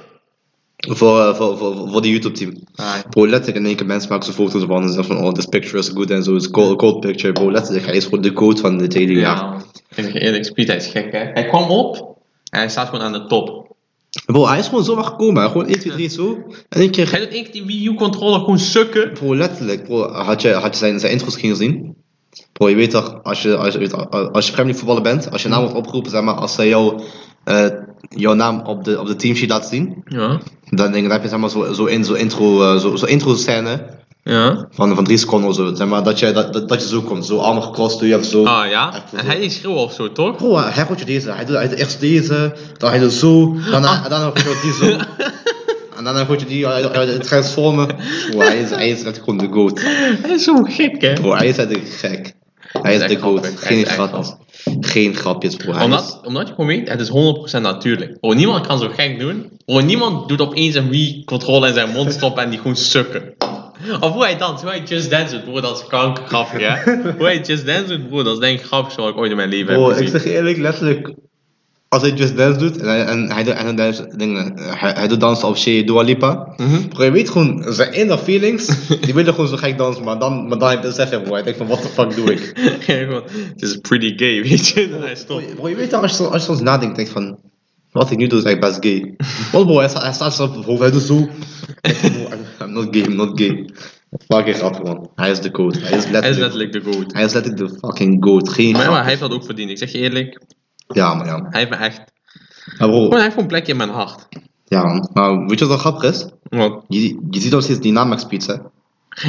Speaker 1: Voor, eh, voor, voor, voor die YouTube-team.
Speaker 2: Ah,
Speaker 1: Bro, letterlijk in één keer mensen maken ze foto's van en zeggen van oh, this picture is good en zo, it's cold, cold picture. Bro, letterlijk, hij is gewoon de goat van dit hele jaar.
Speaker 2: Ja. Ik zeg je eerlijk, Speed, hij is gek, hè. Hij kwam op en hij staat gewoon aan de top.
Speaker 1: Bro, hij is gewoon zomaar gekomen, hè. gewoon 1, 2, 3 zo. En één keer
Speaker 2: Hij doet ik die Wii U-controller gewoon sukken.
Speaker 1: Bro, letterlijk, bro. Had je, had je zijn, zijn intro misschien gezien? Bro, je weet toch, als je, als je, weet toch, als je Premier League voetballer bent, als je naam wordt opgeroepen, zeg maar, als zij jou, eh, jouw naam op de, op de teamsheet laten zien,
Speaker 2: Ja.
Speaker 1: dan, denk, ik, dan heb je zeg maar zo'n zo in- zo intro, eh, zo, zo intro scène
Speaker 2: Ja.
Speaker 1: van, van drie seconden of zo, zeg maar, dat je, dat, dat, dat je zo komt, zo armen gecrossed doe je of zo.
Speaker 2: Ah ja?
Speaker 1: Echt,
Speaker 2: En hij is schreeuwen of zo, toch?
Speaker 1: Bro, hij gooit je deze, hij doet, hij doet eerst deze, dan hij doet zo,
Speaker 2: Ah.
Speaker 1: daarna, en daarna gooit je die zo. En daarna gooit je die, hij doet- hij doet transformen. Bro, hij is, hij is echt gewoon de goat.
Speaker 2: Hij is zo gek, hè?
Speaker 1: Bro, hij is eigenlijk gek. Hij
Speaker 2: is
Speaker 1: is de
Speaker 2: echt
Speaker 1: goat.
Speaker 2: grappig. Hij
Speaker 1: Geen
Speaker 2: is echt
Speaker 1: grapjes. Geen grapjes, bro. Hij is-
Speaker 2: Omdat, omdat je gewoon weet, het is 100% natuurlijk. Bro, niemand kan zo gek doen. Bro, niemand doet opeens een Wii-controle in zijn mond stoppen en die gewoon sukken. Of hoe hij danst, hoe hij Just Dance doet, bro, dat is kankergrapje, hè? hoe hij Just Dance doet, bro, dat is denk ik het grappigste wat ik ooit in mijn leven
Speaker 1: Bro,
Speaker 2: heb
Speaker 1: Oh, ik
Speaker 2: gezien.
Speaker 1: zeg je eerlijk, letterlijk. Als hij Just Dance doet en hij, en hij, doet- en hij, doet- dingen, hij, hij doet dansen op Shea Dua Lipa.
Speaker 2: Mhm.
Speaker 1: Bro, je weet gewoon, zijn inner feelings, die willen gewoon zo gek dansen, maar dan, maar dan heb je het zeggen, bro. Hij denkt van, what the fuck doe ik?
Speaker 2: Ja, gewoon, Het is pretty gay, weet je? En hij
Speaker 1: Bro,
Speaker 2: stopt.
Speaker 1: je- bro, je weet toch, als je, als je soms nadenkt, denk je van... Wat hij nu doet is echt best gay. Wat bro, hij, sta- hij staat zelf op het hoofd, hij doet zo. Bro, I'm, I'm not gay, I'm not gay. Fucking grap man. Hij is de goat. Hij is letterlijk,
Speaker 2: Hij is letterlijk de goat.
Speaker 1: hij is letterlijk de fucking goat. Geen
Speaker 2: Maar, ja, maar
Speaker 1: grap.
Speaker 2: hij heeft dat ook verdiend. Ik zeg je eerlijk,
Speaker 1: Ja man, ja man.
Speaker 2: hij heeft me echt...
Speaker 1: Maar bro,
Speaker 2: Gewoon, hij heeft gewoon een plekje in mijn hart.
Speaker 1: ja man. Maar weet je wat wel grappig is?
Speaker 2: Want,
Speaker 1: Je, je ziet nog steeds Dynamax Speeds hè.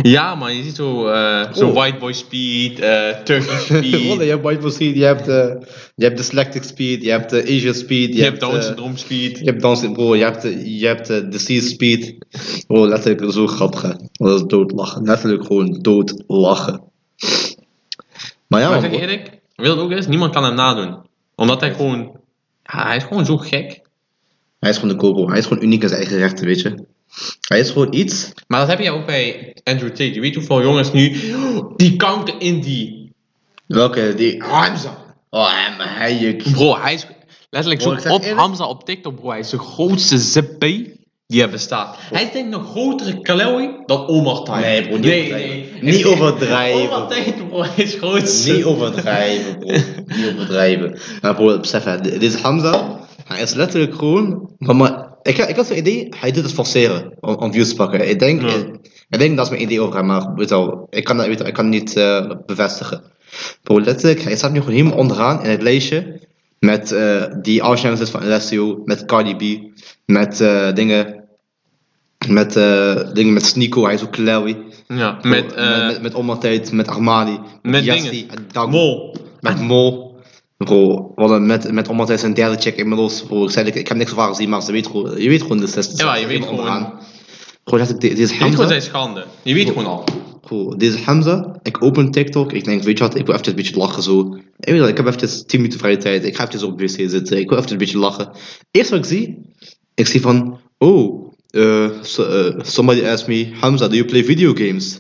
Speaker 2: ja man, je ziet zo, eh zo
Speaker 1: Oh.
Speaker 2: white boy speed, eh Turkish
Speaker 1: Rolle,
Speaker 2: speed,
Speaker 1: je hebt White Bull Speed, je hebt, eh, je hebt Dyslectic Speed, je hebt eh, Asian Speed,
Speaker 2: je hebt Down
Speaker 1: eh,
Speaker 2: syndrome speed.
Speaker 1: Je hebt Down bro, je hebt, eh, je hebt eh, Disease Speed. Bro, letterlijk zo grappig. hè. Dat is doodlachen. Letterlijk gewoon doodlachen. Maar ja,
Speaker 2: maar ik
Speaker 1: man,
Speaker 2: zeg je
Speaker 1: bro.
Speaker 2: eerlijk, weet je wat ook is? Niemand kan hem nadoen. Omdat hij gewoon... Ja, hij is gewoon zo gek.
Speaker 1: hij is gewoon de Kobo. Hij is gewoon uniek in zijn eigen rechten, weet je. Hij is gewoon iets.
Speaker 2: Maar dat heb je ook bij Andrew Tate. Je weet hoeveel jongens nu... Die kanker in die...
Speaker 1: Welke, die.
Speaker 2: Hamza.
Speaker 1: Oh, hem, hij, je.
Speaker 2: Bro, hij is... Letterlijk
Speaker 1: Bro, ik
Speaker 2: zo
Speaker 1: zeg
Speaker 2: op
Speaker 1: eerlijk-
Speaker 2: Hamza op TikTok, bro. Hij is de grootste zippie die er bestaat. Hij is denk ik nog grotere Kalawi dan Omar Time.
Speaker 1: Nee, bro, niet
Speaker 2: nee,
Speaker 1: overdrijven.
Speaker 2: nee.
Speaker 1: Niet overdrijven,
Speaker 2: Omar Time, bro, hij is grootste.
Speaker 1: Niet overdrijven, bro. Niet overdrijven. Maar bro, besef, hè, dit is Hamza. Hij is letterlijk gewoon. Maar, maar ik, ik had zo'n idee, hij doet het forceren om, om views te pakken. Ik denk,
Speaker 2: Ja.
Speaker 1: ik, ik denk dat is mijn idee over hem, maar weet je wel, ik kan, dat- weet je wel, ik kan het niet eh, bevestigen. Bro, letterlijk, hij staat nu gewoon helemaal onderaan in het lijstje. Met eh, die Alzheimer's van Alessio, met Cardi B, met eh, dingen. Met eh, dingen met Sneeko, hij is ook Chloe.
Speaker 2: Ja, met... eh
Speaker 1: met, met Omar Tijd, met Armani,
Speaker 2: met
Speaker 1: Yassi,
Speaker 2: dingen.
Speaker 1: en Dago.
Speaker 2: Mol.
Speaker 1: Met Mo. Bro, wat een- met, met omdat hij zijn derde check inmiddels. Bro, ik, zei, ik, ik heb niks van haar gezien, maar ze weet gewoon, je weet gewoon de zesde.
Speaker 2: Ja, je weet
Speaker 1: Helemaal
Speaker 2: gewoon.
Speaker 1: onderaan. Gewoon dat ik, dit is
Speaker 2: Je weet gewoon
Speaker 1: Hamza.
Speaker 2: zijn schande. Je weet gewoon al.
Speaker 1: Bro, dit is Hamza. Ik open TikTok. Ik denk, weet je wat, ik wil even een beetje lachen zo. Ik weet wel, ik heb even 10 minuten vrije tijd. Ik ga even op de wc zitten. Ik wil even een beetje lachen. Eerst wat ik zie, ik zie van, oh, eh, so- eh, somebody asked me, Hamza, do you play video games?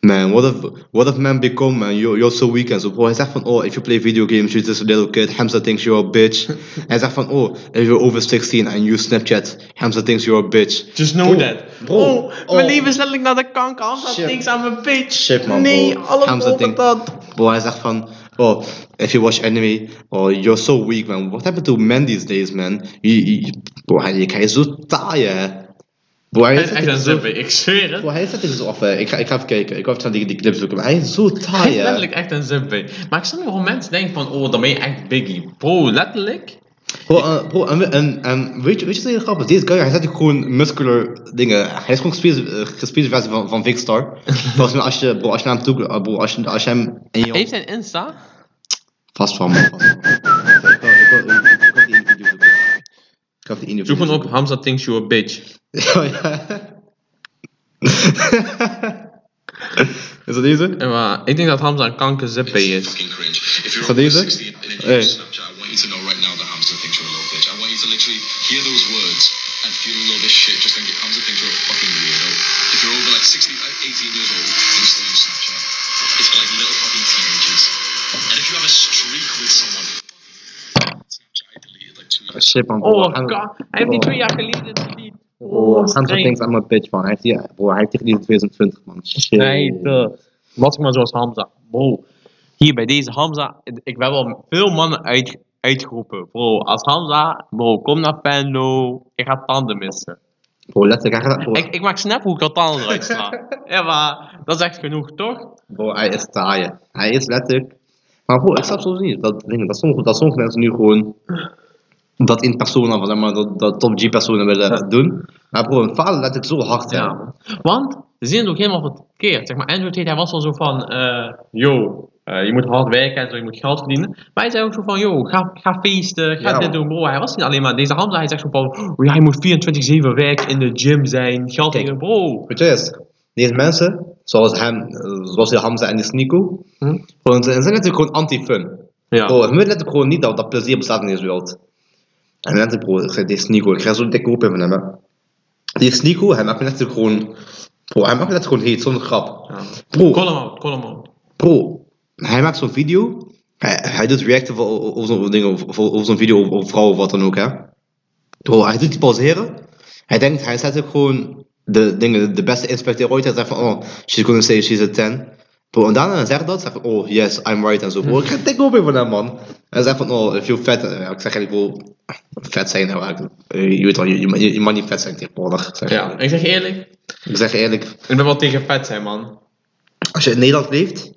Speaker 1: Man, what if what if man become man? You're, you're so weak and so bro. Hij zegt van oh, if you play video games, you're just a little kid. Hamza thinks you're a bitch. hij zegt van oh, if you're over 16 and you Snapchat, Hamza thinks you're a bitch.
Speaker 2: Just know
Speaker 1: Bro,
Speaker 2: that.
Speaker 1: bro,
Speaker 2: oh,
Speaker 1: oh.
Speaker 2: mijn leven is letterlijk naar de kanker. Hamza
Speaker 1: Shit.
Speaker 2: thinks I'm a bitch.
Speaker 1: Shit man,
Speaker 2: nee,
Speaker 1: bro.
Speaker 2: alles
Speaker 1: Hamza
Speaker 2: over
Speaker 1: thinks-
Speaker 2: dat.
Speaker 1: Bro, hij zegt van oh, if you watch anime, oh, you're so weak man. What happened to men these days man? Je- je- Bro, hij, hij is zo taai hè. Bro, hij
Speaker 2: Hij
Speaker 1: is
Speaker 2: is echt een
Speaker 1: letterlijk zo-
Speaker 2: zippie, ik zweer het.
Speaker 1: bro, hij is letterlijk zo af. hè. Ik ga, ik ga even kijken. Ik ga even die, die clip zoeken. Maar hij is zo
Speaker 2: Hij
Speaker 1: taai
Speaker 2: is
Speaker 1: hè.
Speaker 2: letterlijk echt een zippie. Maar ik snap niet waarom mensen denken van, oh, dan ben je echt biggie. Bro, letterlijk.
Speaker 1: Bro, eh, bro en, we- en, en weet je, weet je wat heel grappig um, is? Deze guy, hij is natuurlijk gewoon muscular uh, dingen. Hij is gewoon gespierde gespierde versie van, van Vic Star. Volgens mij, als je, bro, als je naar hem toe... eh, Bro, als je, als je hem... En je
Speaker 2: Heeft hij een Insta?
Speaker 1: Vast van, man. vast van. Ik wil- ik wil- ik- ik wil die interview zoeken. Ik wil die interview
Speaker 2: Zoek gewoon
Speaker 1: zoeken.
Speaker 2: op Hamza thinks you a bitch.
Speaker 1: Ja, Oh, ja. Is dat deze?
Speaker 2: En maar, ik denk dat Hamza een kanker zippie is.
Speaker 3: fucking cringe. If you're
Speaker 1: Gaat
Speaker 3: over
Speaker 1: deze?
Speaker 3: 16 and if
Speaker 1: Hey.
Speaker 3: you're on Snapchat, I want you to know right now that Hamza thinks you're a little bitch. I want you to literally hear those words and feel a little bit shit. Just think Hamza thinks you're a fucking weirdo. If you're over like 16, uh, 18 years old and still on Snapchat, it's for like little fucking teenagers. And if you have a streak with someone, Snapchat I deleted like two years
Speaker 1: Shit, man. bro.
Speaker 2: Oh,
Speaker 1: Hij-
Speaker 2: god. Hij heeft die
Speaker 1: bro.
Speaker 2: twee jaar geleden die.
Speaker 1: Bro,
Speaker 2: Oh,
Speaker 1: Hamza
Speaker 2: nee.
Speaker 1: thinks I'm a bitch, man. Er, Hij heeft die- Bro, hij heeft tegen die 2020, man. Shit.
Speaker 2: Nee, de. Wat ik maar zoals Hamza. Bro, hier bij deze Hamza, ik ben wel veel mannen uit, uitgeroepen. Bro, als Hamza, bro, kom naar Penlo, ik ga tanden missen.
Speaker 1: Bro, letterlijk, hij gaat... Bro,
Speaker 2: Ik, ik maak snap hoe ik al tanden eruit sla. ja, maar dat is echt genoeg, toch?
Speaker 1: Bro, hij is taai. Hij is letterlijk. Maar bro, ik snap soms niet dat, dingen, dat, sommige, dat sommige mensen nu gewoon dat in persona, van, zeg maar, dat, dat top G personen willen doen. Maar bro, een vader let ik zo hard zijn.
Speaker 2: Ja. Want ze zien het ook helemaal verkeerd. Zeg maar, Andrew Tate, hij was al zo van, eh yo, eh, je moet hard werken en zo, je moet geld verdienen. Maar hij zei ook zo van, yo, ga, ga feesten, ga
Speaker 1: Ja,
Speaker 2: dit
Speaker 1: man.
Speaker 2: doen, bro. Hij was niet alleen maar deze Hamza, hij zegt zo van, oh, ja, je moet 24-7 werken, in de gym zijn, geld
Speaker 1: Kijk.
Speaker 2: verdienen, bro.
Speaker 1: Weet je wat het is? Deze mensen, zoals hem, eh, zoals die Hamza en die Sneeko,
Speaker 2: Hm?
Speaker 1: gewoon, ze ze zijn natuurlijk gewoon anti-fun.
Speaker 2: Ja.
Speaker 1: Bro, hun willen letterlijk gewoon niet dat, dat plezier bestaat in deze wereld. En letterlijk bro, ik zeg, die Sneeko, ik ga zo'n dikke hoop in van hem. hè. Die Sneeko, hij maakt me letterlijk gewoon, bro, hij maakt me letterlijk gewoon heet, zonder grap.
Speaker 2: Ja.
Speaker 1: Bro,
Speaker 2: Call hem out, call hem out.
Speaker 1: Bro, hij maakt zo'n video. Hij, hij doet reacten voor- over zo'n ding, over, over- over zo'n video over, over vrouwen of wat dan ook, hè. Bro, hij doet die pauzeren. Hij denkt, hij zet ook gewoon de, dingen, de beste inspecteur ooit. Hij zegt van, oh, she's gonna say she's a 10. Bro, en daarna zegt dat, zeg ik, oh yes, I'm right en zo. Bro, ik ga dik op van hem, man. En zegt van, oh, veel vet. Ja, ik zeg eigenlijk, bro, vet zijn, nou, eigenlijk, eh, je weet wel, je, je, je mag niet vet zijn tegenwoordig. Ik Zeg
Speaker 2: Ja,
Speaker 1: eerlijk.
Speaker 2: ik zeg eerlijk,
Speaker 1: Ik zeg eerlijk,
Speaker 2: ik ben wel tegen vet zijn, man.
Speaker 1: als je in Nederland leeft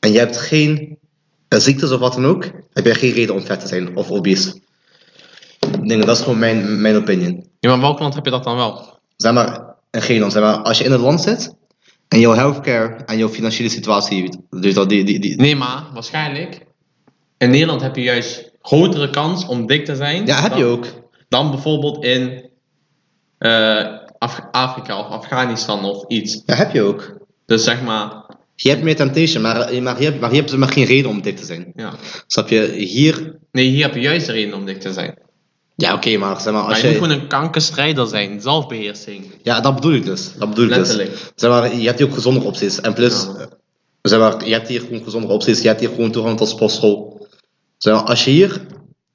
Speaker 1: en je hebt geen eh, ziektes of wat dan ook, heb je geen reden om vet te zijn of obese. Ik denk dat dat is gewoon mijn, mijn opinion.
Speaker 2: Ja, maar in welk land heb je dat dan wel?
Speaker 1: Zeg maar, in Nederland, zeg maar, als je in een land zit en jouw healthcare en jouw financiële situatie, dus dat die, die, die,
Speaker 2: Nee, maar waarschijnlijk. In Nederland heb je juist grotere kans om dik te zijn.
Speaker 1: ja, heb
Speaker 2: dan-
Speaker 1: je ook.
Speaker 2: Dan bijvoorbeeld in eh, Af- Afrika of Afghanistan of iets.
Speaker 1: Ja, heb je ook.
Speaker 2: Dus zeg maar,
Speaker 1: Je hebt meer temptation, maar, eh, maar, hier, maar hier hebben ze maar geen reden om dik te zijn.
Speaker 2: ja.
Speaker 1: Snap je? Hier,
Speaker 2: Nee, hier heb je juist de reden om dik te zijn.
Speaker 1: ja oké, maar zeg maar,
Speaker 2: Maar
Speaker 1: als
Speaker 2: je moet
Speaker 1: je...
Speaker 2: gewoon een kankerstrijder zijn, zelfbeheersing.
Speaker 1: Ja, dat bedoel ik dus. Dat bedoel ik dus.
Speaker 2: Letterlijk.
Speaker 1: Zeg maar, je hebt hier ook gezondere opties. En plus,
Speaker 2: Ja.
Speaker 1: eh, zeg maar, je hebt hier gewoon gezondere opties. Je hebt hier gewoon toegang tot sportschool. Zeg maar, als je hier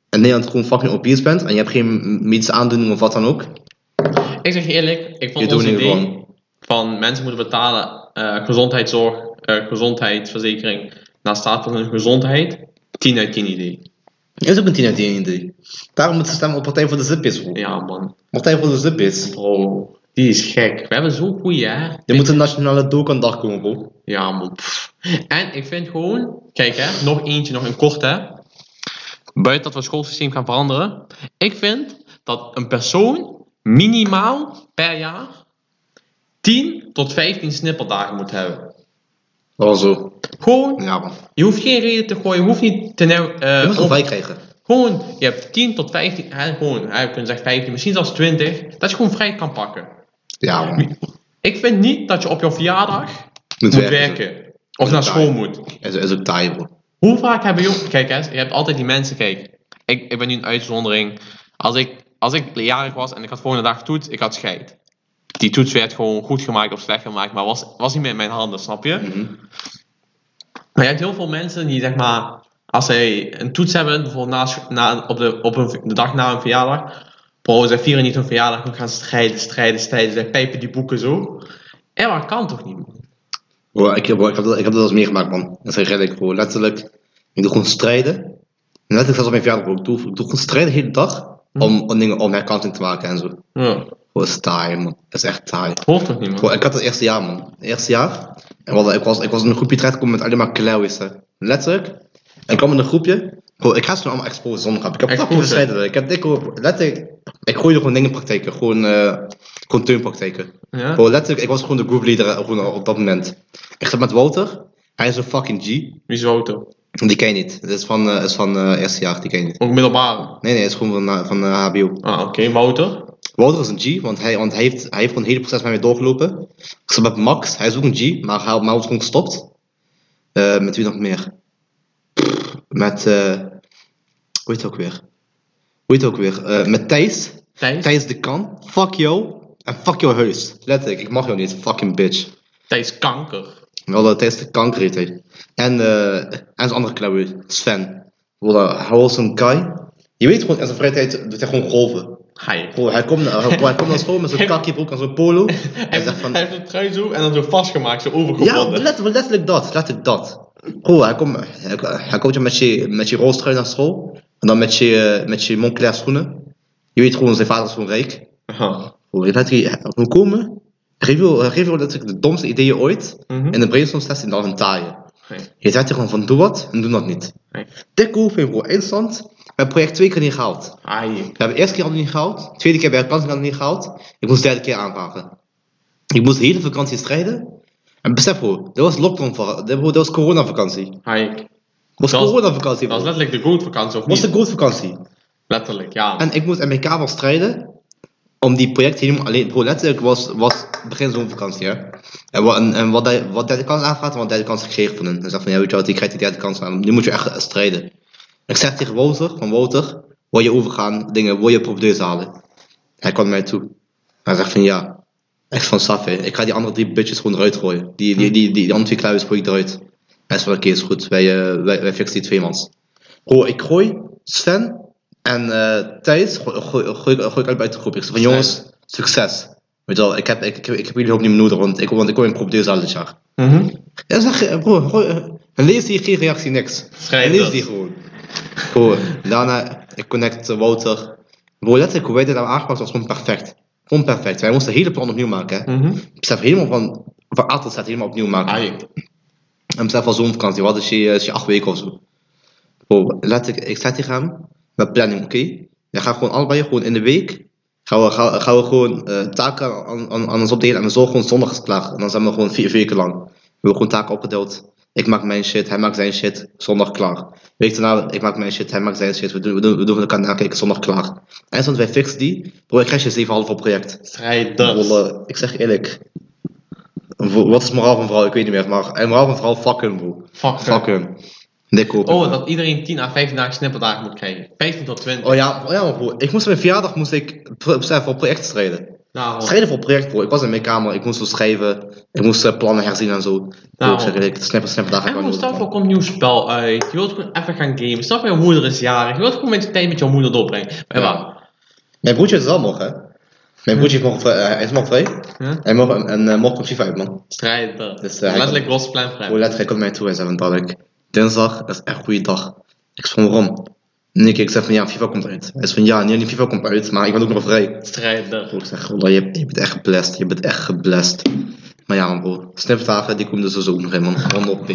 Speaker 1: in Nederland gewoon fucking obese bent en je hebt geen medische aandoening of wat dan ook.
Speaker 2: Ik zeg je eerlijk, ik
Speaker 1: Je
Speaker 2: vond
Speaker 1: doet
Speaker 2: ons
Speaker 1: niet
Speaker 2: idee
Speaker 1: gewoon.
Speaker 2: van mensen moeten betalen eh, gezondheidszorg, eh, gezondheidsverzekering naar staat van hun gezondheid, 10 uit 10 idee.
Speaker 1: Is ook een 10 uit 10 idee. Daarom moeten ze stemmen op Partij voor de Zippies. bro.
Speaker 2: Ja man,
Speaker 1: Partij voor de Zippies.
Speaker 2: bro, die is gek. We hebben zo'n goeie hè.
Speaker 1: Je moet een nationale dook aan de dag komen, bro.
Speaker 2: Ja man. pff. En ik vind gewoon, kijk hè, nog eentje, nog een kort hè. Buiten dat we het schoolsysteem gaan veranderen. Ik vind dat een persoon minimaal per jaar 10 tot 15 snipperdagen moet hebben.
Speaker 1: Dat was zo.
Speaker 2: Gewoon
Speaker 1: Ja, man.
Speaker 2: Je hoeft geen reden te gooien, je hoeft niet te. nou- eh,
Speaker 1: Je moet
Speaker 2: om-
Speaker 1: gelijk krijgen.
Speaker 2: gewoon, je hebt 10 tot 15, hè, gewoon, hè, je kunt zeggen 15, misschien zelfs 20, dat je gewoon vrij kan pakken.
Speaker 1: Ja, man.
Speaker 2: Ik vind niet dat je op jouw verjaardag moet werken. Of naar
Speaker 1: Ja.
Speaker 2: school moet.
Speaker 1: Is, is ook taai, bro.
Speaker 2: Hoe vaak hebben jong. Kijk, hè, je hebt altijd die mensen, kijk, ik, ik ben nu een uitzondering. Als ik, als ik jarig was en ik had volgende dag toets, ik had scheid. Die toets werd gewoon goed gemaakt of slecht gemaakt, maar was, was niet meer in mijn handen, snap je? Maar je hebt heel veel mensen die, zeg maar, als zij een toets hebben, bijvoorbeeld na, scho- na, op, de, op een, de dag na een verjaardag, bro, zij vieren niet hun verjaardag, we gaan strijden, strijden, strijden, zij pijpen die boeken zo. En dat kan toch niet? man?
Speaker 1: Bro, ik, bro, ik, heb dat, ik heb dat eens meegemaakt, man. Dat is redelijk, bro. Letterlijk. Ik doe gewoon strijden. En letterlijk zelfs op mijn verjaardag, bro. Ik doe, ik doe gewoon strijden de hele dag. Om, om dingen om herkanting te maken en zo. Bro,
Speaker 2: Ja,
Speaker 1: dat is taai, man. Dat is echt taai.
Speaker 2: hoort toch niet, man?
Speaker 1: Bro, ik had het eerste jaar, man. Het eerste jaar. En we hadden- ik, was, ik was in een groepje terechtgekomen met alleen maar klauwis, hè. Letterlijk. En ik kwam in een groepje. Bro, ik ga ze nu allemaal exposen zonder grap. Ik heb
Speaker 2: Exposen.
Speaker 1: fucking gescheiden. Ik heb dikke... Letterlijk... Ik gooide gewoon dingen in praktijken. Gewoon... eh gewoon teunpraktijken.
Speaker 2: Ja?
Speaker 1: Bro, Oh, letterlijk, ik was gewoon de groupleader eh, gewoon op dat moment. Ik zat met Walter. Hij is een fucking G.
Speaker 2: Wie is Wouter?
Speaker 1: Die ken je niet. Dat is van, eh is van eh, eerste jaar, die ken je niet.
Speaker 2: Ook middelbare.
Speaker 1: Nee, nee, het is gewoon van, eh, van eh, HBO.
Speaker 2: Ah, oké, Wouter.
Speaker 1: Walter is een G, want hij, want hij, heeft, hij heeft gewoon het hele proces met mij doorgelopen. Ik zat met Max, hij is ook een G, maar hij, maar hij wordt gewoon gestopt. Eh, met wie nog meer? Met, eh hoe heet het ook weer? Hoe heet het ook weer? Eh, met Thijs.
Speaker 2: Thijs. Thijs,
Speaker 1: Thijs de Kan. Fuck jou. En fuck jouw huis. Letterlijk, ik mag jou niet, fucking bitch.
Speaker 2: kanker.
Speaker 1: Wel dat tijdens de kanker heeft hij. En, eh en zijn andere klauwe, Sven. Voilà, hij was een guy. Je weet gewoon, in zijn vrije tijd doet hij gewoon golven.
Speaker 2: Hij.
Speaker 1: Gewoon, hij komt naar, hij, hij komt naar school met zo'n kakkie broek en zo'n polo. Hij zegt van...
Speaker 2: Hij heeft een trui zo en dan zo vastgemaakt, zo
Speaker 1: Ja,
Speaker 2: overgebonden.
Speaker 1: let, letterlijk dat, letterlijk dat. Gewoon, hij, komt hij, hij komt je met je, met je roze trui naar school. En dan met je, eh, met je Moncler schoenen. Je weet gewoon, zijn vader is gewoon rijk.
Speaker 2: Ja.
Speaker 1: Hoe laat hij hoe eh, komen? Geef je geef je letterlijk de domste ideeën ooit.
Speaker 2: Mhm.
Speaker 1: En de brainstormstest en dan een taaien.
Speaker 2: Nee.
Speaker 1: Je zegt er gewoon van doe wat en doe dat niet.
Speaker 2: Nee.
Speaker 1: Dikke hoeveel voor instant. We hebben het project twee keer niet gehaald.
Speaker 2: Hij.
Speaker 1: We hebben de eerste keer al niet gehaald. De tweede keer bij de kans niet gehaald. Ik moest de derde keer aanvragen. Ik moest de hele vakantie strijden. En besef bro, dat was lockdown voor, dat bro, dat was coronavakantie. Dat
Speaker 2: Hij.
Speaker 1: was
Speaker 2: Dat was-
Speaker 1: coronavakantie
Speaker 2: Dat was
Speaker 1: bro. Dat
Speaker 2: letterlijk de goatvakantie, of
Speaker 1: was de
Speaker 2: niet?
Speaker 1: grootvakantie.
Speaker 2: Letterlijk, ja.
Speaker 1: En ik moest in mijn kamer strijden om die projecten helemaal alleen. Bro, letterlijk was, was begin zomervakantie, hè? En, wa- en, en wat, hij- wat derde kans aanvraagt, want derde kans gekregen van hen. Hij zegt van ja, weet je wat, je krijgt die derde kans aan. Nu moet je echt strijden. En ik zeg tegen Wouter, van Wouter, wil je overgaan, dingen, wil je propedeus halen? Hij kwam naar mij toe. Hij zegt van ja, echt van saf, hè. Ik ga die andere drie bitches gewoon eruit gooien. Die, die, die, die, die andere twee kluis gooi ik eruit. Hij zegt van oké, is goed, wij, eh, wij, wij fixen die twee mans. Bro, ik gooi Sven en eh Thijs gooi, gooi, gooi, gooi ik uit buiten de groep. Ik zeg van jongens, succes. Weet je wel, ik heb, ik, ik, ik heb jullie ook niet meer nodig, want ik, want ik kom in groep deze al dit jaar.
Speaker 2: Mhm.
Speaker 1: Ja, zeg, broer, gooi- eh, lees die geen reactie, niks.
Speaker 2: Schrijf
Speaker 1: lees
Speaker 2: dat.
Speaker 1: die gewoon. Broer, daarna, ik connect eh, Wouter. Broer, letterlijk, hoe wij dit hebben aangepakt was gewoon perfect. Gewoon perfect. Wij moesten het hele plan opnieuw maken. Hè.
Speaker 2: Mhm.
Speaker 1: Ik besef helemaal van, van A tot Z helemaal opnieuw maken.
Speaker 2: Ah, je-
Speaker 1: En besef van zo'n vakantie, wat is je, is je eh, dus acht weken of zo. Bro, laat ik, ik zet tegen hem met planning, oké? Dan gaan we gewoon allebei gewoon in de week. Gaan we, gaan, we- gaan we gewoon eh, taken aan, aan, aan ons opdelen en we zorgen gewoon zondag is het klaar. En dan zijn we gewoon vier weken lang. We hebben gewoon taken opgedeeld. Ik maak mijn shit, hij maakt zijn shit, zondag klaar. Week daarna, ik maak mijn shit, hij maakt zijn shit. We doen, we doen, we doen van elkaar nakijken, zondag klaar. En soms wij fixen die. Bro, ik krijg je 7,5 op project.
Speaker 2: Strijders.
Speaker 1: Wolle, ik zeg eerlijk. Wo- Wat is het moraal van vrouw? Ik weet niet meer. Maar het moraal van vrouw, fuck hun, bro.
Speaker 2: Fuck.
Speaker 1: Fuck hun. Dik op.
Speaker 2: Oh, dat iedereen 10 à 15 dagen snipperdagen moet krijgen. 15 tot 20.
Speaker 1: Oh ja, oh ja, bro. Ik moest op mijn verjaardag moest ik pro- besef, voor projecten strijden.
Speaker 2: Nou,
Speaker 1: Strijden voor project, bro. Ik was in mijn kamer, ik moest zo schrijven. Ik moest eh, plannen herzien en zo. Bro, ik zeg eerlijk, snapper, snapper, daar ga ik
Speaker 2: en
Speaker 1: wel
Speaker 2: gewoon
Speaker 1: niet
Speaker 2: stel
Speaker 1: van.
Speaker 2: voor, er komt een nieuw spel uit. Je wilt gewoon even gaan gamen. Stel voor, je moeder is jarig. Je wilt gewoon met je tijd met jouw moeder doorbrengen. Maar
Speaker 1: Ja.
Speaker 2: ja.
Speaker 1: Mijn broertje is wel morgen, hè. Mijn broertje is morgen vrij. eh, hij is morgen vrij.
Speaker 2: Huh?
Speaker 1: Hij morgen, en eh, morgen komt hij uit, man.
Speaker 2: Strijder.
Speaker 1: Dus, eh, hij
Speaker 2: Letterlijk los plan voor hem.
Speaker 1: Bro, letterlijk, komt mij toe, hij zei, want dat ik... Dinsdag is echt een goede dag. Ik sprong waarom. Nick, ik zeg van ja, FIFA komt uit. Hij is van ja, nee, niet FIFA komt uit, maar ik ben ook nog vrij.
Speaker 2: Strijder.
Speaker 1: Bro, ik zeg, Rolla, je, je bent echt geblest. Je bent echt geblest. Maar ja, man, bro. Snipdagen, die komen er sowieso ook nog in, man. 100p.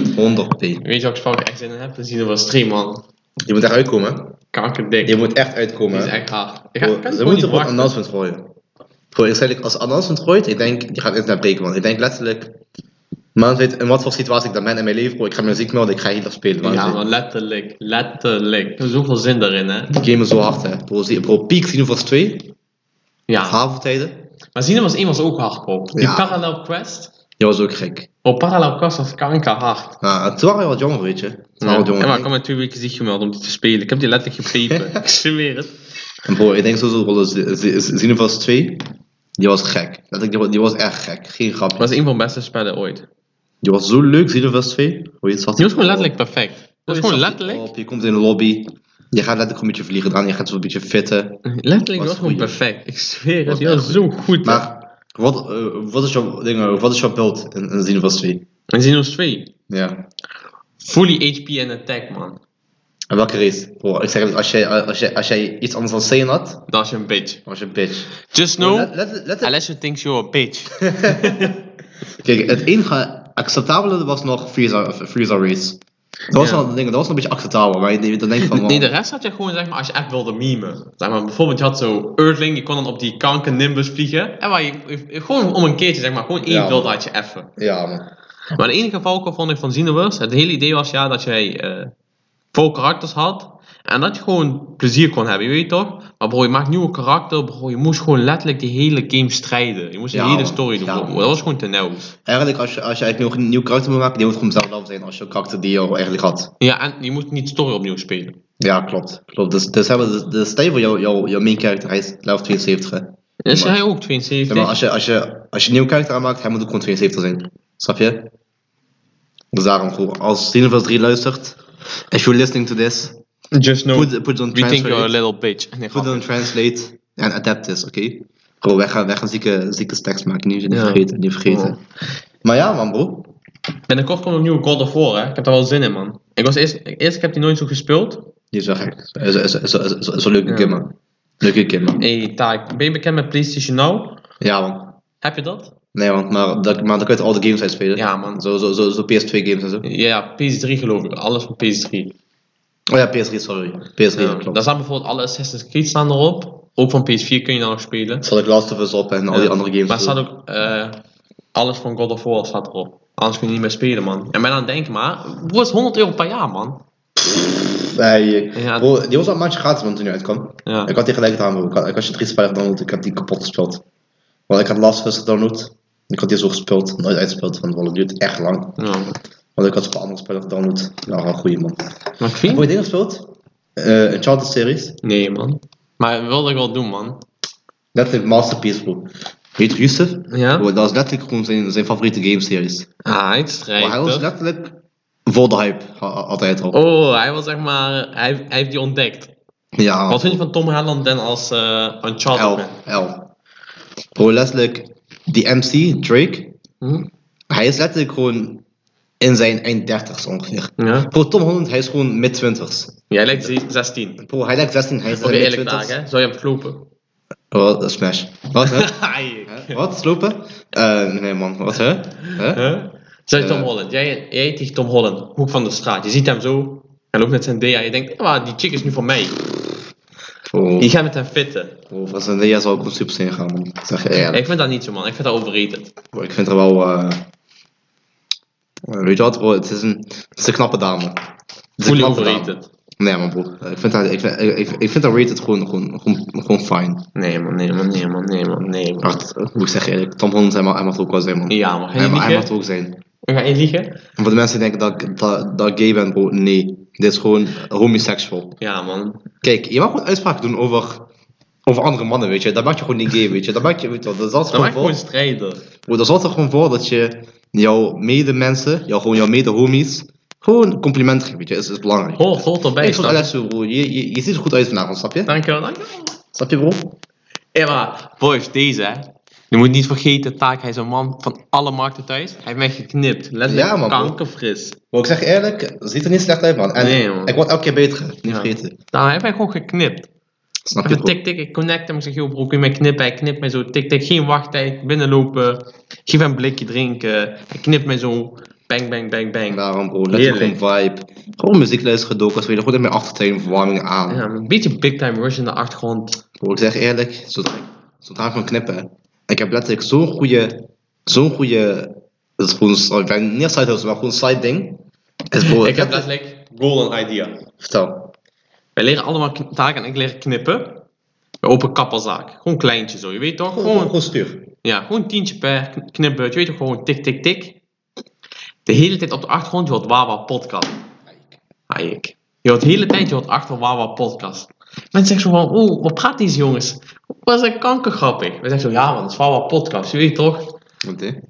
Speaker 1: 100p.
Speaker 2: Weet je welk spel ik echt zin in heb? Dat zien we wel stream, man.
Speaker 1: Je moet echt uitkomen. hè?
Speaker 2: Kankerdik.
Speaker 1: Je moet echt
Speaker 2: Die
Speaker 1: uitkomen.
Speaker 2: is
Speaker 1: hè?
Speaker 2: echt hard. Ik ga,
Speaker 1: Bro,
Speaker 2: ik kan
Speaker 1: ze
Speaker 2: het gewoon niet
Speaker 1: moeten gewoon een
Speaker 2: wachten.
Speaker 1: announcement gooien. Bro, ik zeg, als announcement gooit, ik denk, je gaat internet breken, man. Ik denk letterlijk, man weet in wat voor situatie ik dan ben in mijn leven, bro. Ik ga mijn muziek melden, ik ga hier nog spelen, man.
Speaker 2: Ja, maar letterlijk. Letterlijk. Er is zoveel zin daarin, hè.
Speaker 1: Die game is zo hard, hè. Bro, zie, bro peak, zien was 2,
Speaker 2: Ja.
Speaker 1: avondtijden.
Speaker 2: Maar zien was één was ook hard, bro. Die
Speaker 1: Ja.
Speaker 2: Parallel Quest.
Speaker 1: Dat was ook gek.
Speaker 2: Bro, Parallel Quest was kankerhard.
Speaker 1: Ja, toen waren we wat jonger, weet je. Toen
Speaker 2: Ja,
Speaker 1: waren we wat
Speaker 2: en
Speaker 1: jonger.
Speaker 2: maar ik kwam met twee weken ziek gemeld om die te spelen. Ik heb die letterlijk gegrepen. ik zweer het.
Speaker 1: En bro, ik denk sowieso eh, rollen Xenophas 2, die was gek. Dat ik, die, wa- die was echt gek, geen grap.
Speaker 2: Dat is een van de beste spellen ooit.
Speaker 1: Die was zo leuk, Xenophas 2. Hoe je het zat.
Speaker 2: Die was gewoon letterlijk perfect.
Speaker 1: Hoe
Speaker 2: Dat
Speaker 1: je
Speaker 2: is gewoon
Speaker 1: zat
Speaker 2: letterlijk.
Speaker 1: Op, je komt in de lobby, je gaat letterlijk een beetje vliegen dan, je gaat zo een beetje fitten.
Speaker 2: Letterlijk
Speaker 1: Was
Speaker 2: Oh. was gewoon
Speaker 1: goeie.
Speaker 2: perfect. Ik zweer
Speaker 1: Was
Speaker 2: het. Die was
Speaker 1: echt
Speaker 2: zo goed. Maar...
Speaker 1: Maar, wat, eh, wat, is jouw, ding, eh, wat is jouw beeld in, in Xenophas 2?
Speaker 2: En Xenos 2.
Speaker 1: Ja.
Speaker 2: Fully HP en attack, man.
Speaker 1: En welke race? Bro, ik zeg het, als jij, als jij, als jij iets anders dan Saiyan had,
Speaker 2: Dat is een bitch.
Speaker 1: was je een bitch.
Speaker 2: Just
Speaker 1: Let,
Speaker 2: know,
Speaker 1: let, let-
Speaker 2: Alessio thinks you're a bitch.
Speaker 1: Kijk, het enige acceptabele was nog Freezer, Freezer Race. Dat was,
Speaker 2: Ja.
Speaker 1: nog, dat ding- dat was nog een beetje acceptabel, maar je- dan denk je van...
Speaker 2: Nee, de
Speaker 1: man,
Speaker 2: rest had je gewoon, zeg maar, als je echt wilde memen. Zeg maar, bijvoorbeeld, je had zo Earthling, je kon dan op die kanker Nimbus vliegen. En waar je, je- je- gewoon om een keertje, zeg maar, gewoon één
Speaker 1: Ja.
Speaker 2: wilde had je effen.
Speaker 1: Ja, man.
Speaker 2: Maar de enige valkuil vond ik van Xenoverse, het hele idee was ja dat jij eh veel karakters had en dat je gewoon plezier kon hebben, je weet toch? Maar bro, je maakt nieuwe karakter, bro, je moest gewoon letterlijk die hele game strijden. Je moest
Speaker 1: Ja,
Speaker 2: de hele
Speaker 1: man.
Speaker 2: story doen,
Speaker 1: Ja,
Speaker 2: bro.
Speaker 1: man.
Speaker 2: dat was gewoon te nauw.
Speaker 1: Eigenlijk, als je, als je eigenlijk nog een nieuw karakter moet maken, die moet gewoon zelf af zijn als je karakter die je al eigenlijk had.
Speaker 2: Ja, en je moet niet de story opnieuw spelen.
Speaker 1: Ja, klopt. klopt. Dus, dus hebben we de, de stijl van jouw jou, jou main character, hij is level 72. Hè.
Speaker 2: En is
Speaker 1: Maar-
Speaker 2: hij ook
Speaker 1: Ja,
Speaker 2: 72?
Speaker 1: maar als je, als, je, als je een nieuw karakter aanmaakt, hij moet ook gewoon 72 zijn. Snap je? Dus daarom, bro, als Xenoverse 3 luistert, if you're listening to this,
Speaker 2: Just know,
Speaker 1: put, put it on
Speaker 2: we think you're a
Speaker 1: translate.
Speaker 2: little bitch. Nee,
Speaker 1: Put it on
Speaker 2: grapje.
Speaker 1: translate en adapt this, oké? Bro, wij gaan, wij gaan zieke, zieke stacks maken, niet, niet
Speaker 2: Ja.
Speaker 1: vergeten, niet vergeten. Maar ja, man, bro.
Speaker 2: Binnenkort komt een nieuwe God of War, hè. Ik heb daar wel zin in, man. Ik was eerst, eerst ik heb die nooit zo gespeeld.
Speaker 1: Die is wel gek. Is, is, is, is, is- is een leuke
Speaker 2: Ja.
Speaker 1: game, man. Leuke game, man.
Speaker 2: hey, Taak, ben je bekend met PlayStation Now?
Speaker 1: Ja, man.
Speaker 2: Heb je dat?
Speaker 1: Nee, want maar, dat, maar dan kun je al de games uitspelen.
Speaker 2: Ja, man.
Speaker 1: Zo, zo, zo, zo PS2 games en zo.
Speaker 2: Ja, PS3 geloof ik. Alles van PS3.
Speaker 1: Oh ja, PS3, sorry. PS3,
Speaker 2: Ja,
Speaker 1: klopt.
Speaker 2: Daar staan bijvoorbeeld alle Assassin's Creed staan erop. Ook van PS4 kun je dan nog spelen.
Speaker 1: Er staat ook Last of Us op en al die
Speaker 2: Ja.
Speaker 1: andere games.
Speaker 2: Maar er
Speaker 1: zo.
Speaker 2: staat ook eh, alles van God of War staat erop. Anders kun je niet meer spelen, man. En ben aan het denken, maar het wordt 100 euro per jaar, man.
Speaker 1: Nee, eh,
Speaker 2: Ja.
Speaker 1: bro, die was al een maandje gratis, man, toen die uitkwam.
Speaker 2: Ja.
Speaker 1: Ik had die gelijk gedaan, bro. Ik had, ik had je 3 spelen gedownload, ik heb die kapot gespeeld. Want ik had Last of Us gedownload. Ik had die zo gespeeld, nooit uitgespeeld, want het duurt echt lang.
Speaker 2: Ja.
Speaker 1: Want ik had een paar andere spellen gedownload. Nou, wel een goeie, man.
Speaker 2: Maar ik
Speaker 1: Heb
Speaker 2: vind...
Speaker 1: je dingen gespeeld? Eh Enchanted series.
Speaker 2: Nee, man. Maar dat wilde ik wel doen, man.
Speaker 1: Letterlijk Masterpiece, bro. Weet je, Yusuf?
Speaker 2: Ja?
Speaker 1: Bro, dat is letterlijk gewoon zijn, zijn favoriete gameseries.
Speaker 2: Ah, hij
Speaker 1: Maar Oh, hij was
Speaker 2: strijdt.
Speaker 1: letterlijk voor de hype, ha- ha- altijd al.
Speaker 2: Oh, hij was zeg maar... Hij, hij heeft die ontdekt.
Speaker 1: Ja, man.
Speaker 2: Wat vind je van Tom Holland dan als eh Uncharted
Speaker 1: L,
Speaker 2: man?
Speaker 1: L. Bro, letterlijk, die MC, Drake,
Speaker 2: Hm?
Speaker 1: Hij is letterlijk gewoon in zijn eind dertigers ongeveer.
Speaker 2: Ja.
Speaker 1: Voor Tom Holland, hij is gewoon mid twintigers.
Speaker 2: Jij lijkt ze- 16.
Speaker 1: Bro, hij lijkt 16, hij is
Speaker 2: Voor
Speaker 1: in
Speaker 2: je
Speaker 1: de
Speaker 2: eerlijk
Speaker 1: mid-twintigers.
Speaker 2: vragen, hè? zou je hem klopen?
Speaker 1: Wat een smash. Wat, hè?
Speaker 2: Huh?
Speaker 1: Wat, slopen? Eh, nee man, wat, hè? Hè?
Speaker 2: Zou je
Speaker 1: Eh.
Speaker 2: Tom Holland, jij, jij tegen Tom Holland, hoek van de straat, je ziet hem zo, hij loopt met zijn DA, je denkt, ah, die chick is nu van mij.
Speaker 1: Bro,
Speaker 2: Je gaat met hem fitten.
Speaker 1: bro, als een jaar zou ik op super zijn gaan man. Ik Zeg je eerlijk.
Speaker 2: Ik vind dat niet zo, man. Ik vind dat overrated.
Speaker 1: Bro, ik vind er wel... eh, eh, weet je wat, bro, het is een, het is een knappe dame. Het is een
Speaker 2: Fully
Speaker 1: knappe dame.
Speaker 2: overrated.
Speaker 1: Nee man, bro. Ik vind dat, ik vind, ik, ik- ik vind dat rated gewoon, gewoon, gewoon, gewoon fijn.
Speaker 2: Nee, man, nee, man, nee, man, nee, man, nee, man.
Speaker 1: Maar het- hoe ik zeg je eerlijk, Tom Holland, hij mag, hij mag er ook wel zijn man.
Speaker 2: Ja, maar ga
Speaker 1: hij,
Speaker 2: je
Speaker 1: mag, hij mag er
Speaker 2: liegen?
Speaker 1: ook zijn.
Speaker 2: Ga je liegen?
Speaker 1: En voor de mensen die denken dat ik dat, dat ik gay ben, bro, nee. Dit is gewoon homoseksual.
Speaker 2: Ja, man.
Speaker 1: Kijk, je mag gewoon uitspraken doen over, over andere mannen, weet je. Dat maakt je gewoon niet gay, weet je. Dat maakt je, weet je, wel, dat zorgt er
Speaker 2: Dan maak
Speaker 1: gewoon
Speaker 2: ik gewoon
Speaker 1: voor.
Speaker 2: strijder.
Speaker 1: Bro, dat zorgt er gewoon voor dat je jouw medemensen, jou, gewoon jouw mede-homies, gewoon complimenten geeft, weet je. Dat is, is belangrijk.
Speaker 2: Hoort, hoort erbij,
Speaker 1: ik vond
Speaker 2: snap je?
Speaker 1: Alessio, bro, je, je, je ziet er goed uit vanavond, snap je?
Speaker 2: Dankjewel, dankjewel.
Speaker 1: Snap je, bro?
Speaker 2: Hé, Eh, maar, boys, deze, hè. Je moet niet vergeten, Taak, hij is een man van alle markten thuis. Hij heeft mij geknipt. Letterlijk
Speaker 1: Ja, man, bro.
Speaker 2: kankerfris.
Speaker 1: Bro, ik zeg je eerlijk, het ziet er niet slecht uit, man. En
Speaker 2: Nee, man.
Speaker 1: ik word elke keer beter, niet
Speaker 2: Ja.
Speaker 1: vergeten.
Speaker 2: Nou, hij heeft mij gewoon geknipt.
Speaker 1: Snap je,
Speaker 2: Even
Speaker 1: bro?
Speaker 2: tik, tik, ik connect hem. Ik zeg, joh bro, kun je mij knippen? Hij knipt mij zo, tik, tik. Geen wachttijd, binnenlopen. Geef hem een blikje drinken. Hij knipt mij zo, bang, bang, bang, bang.
Speaker 1: Daarom, bro, let
Speaker 2: Heerlijk.
Speaker 1: gewoon vibe. Gewoon muziek luisteren, dokus, weet je. Gewoon in mijn achtertuin, verwarming aan.
Speaker 2: Ja, een beetje big time rush in de achtergrond.
Speaker 1: Bro, ik zeg eerlijk, zodra, zodra ik van knippen, ik heb letterlijk zo'n goede, zo'n goede, dat is gewoon, een- ik ben niet side hustle, maar gewoon side ding. Is bro,
Speaker 2: ik heb letterlijk golden idea.
Speaker 1: vertel.
Speaker 2: Wij leren allemaal kn- taken en ik leer knippen. We open kapperzaak. Gewoon kleintje zo, je weet toch? Gewoon,
Speaker 1: stuur.
Speaker 2: ja, gewoon tientje per kn- knipbeurt. Je weet toch, gewoon tik, tik, tik. De hele tijd op de achtergrond, je hoort Wawa podcast. Hayek. Je hoort de hele tijd, je hoort achter Wawa podcast. Mensen zeggen zo van, oeh, wat praat deze jongens? Wat is dat kankergrappig? We zeggen zo, ja man, dat is Wawa podcast, je weet toch?
Speaker 1: Oké. Ik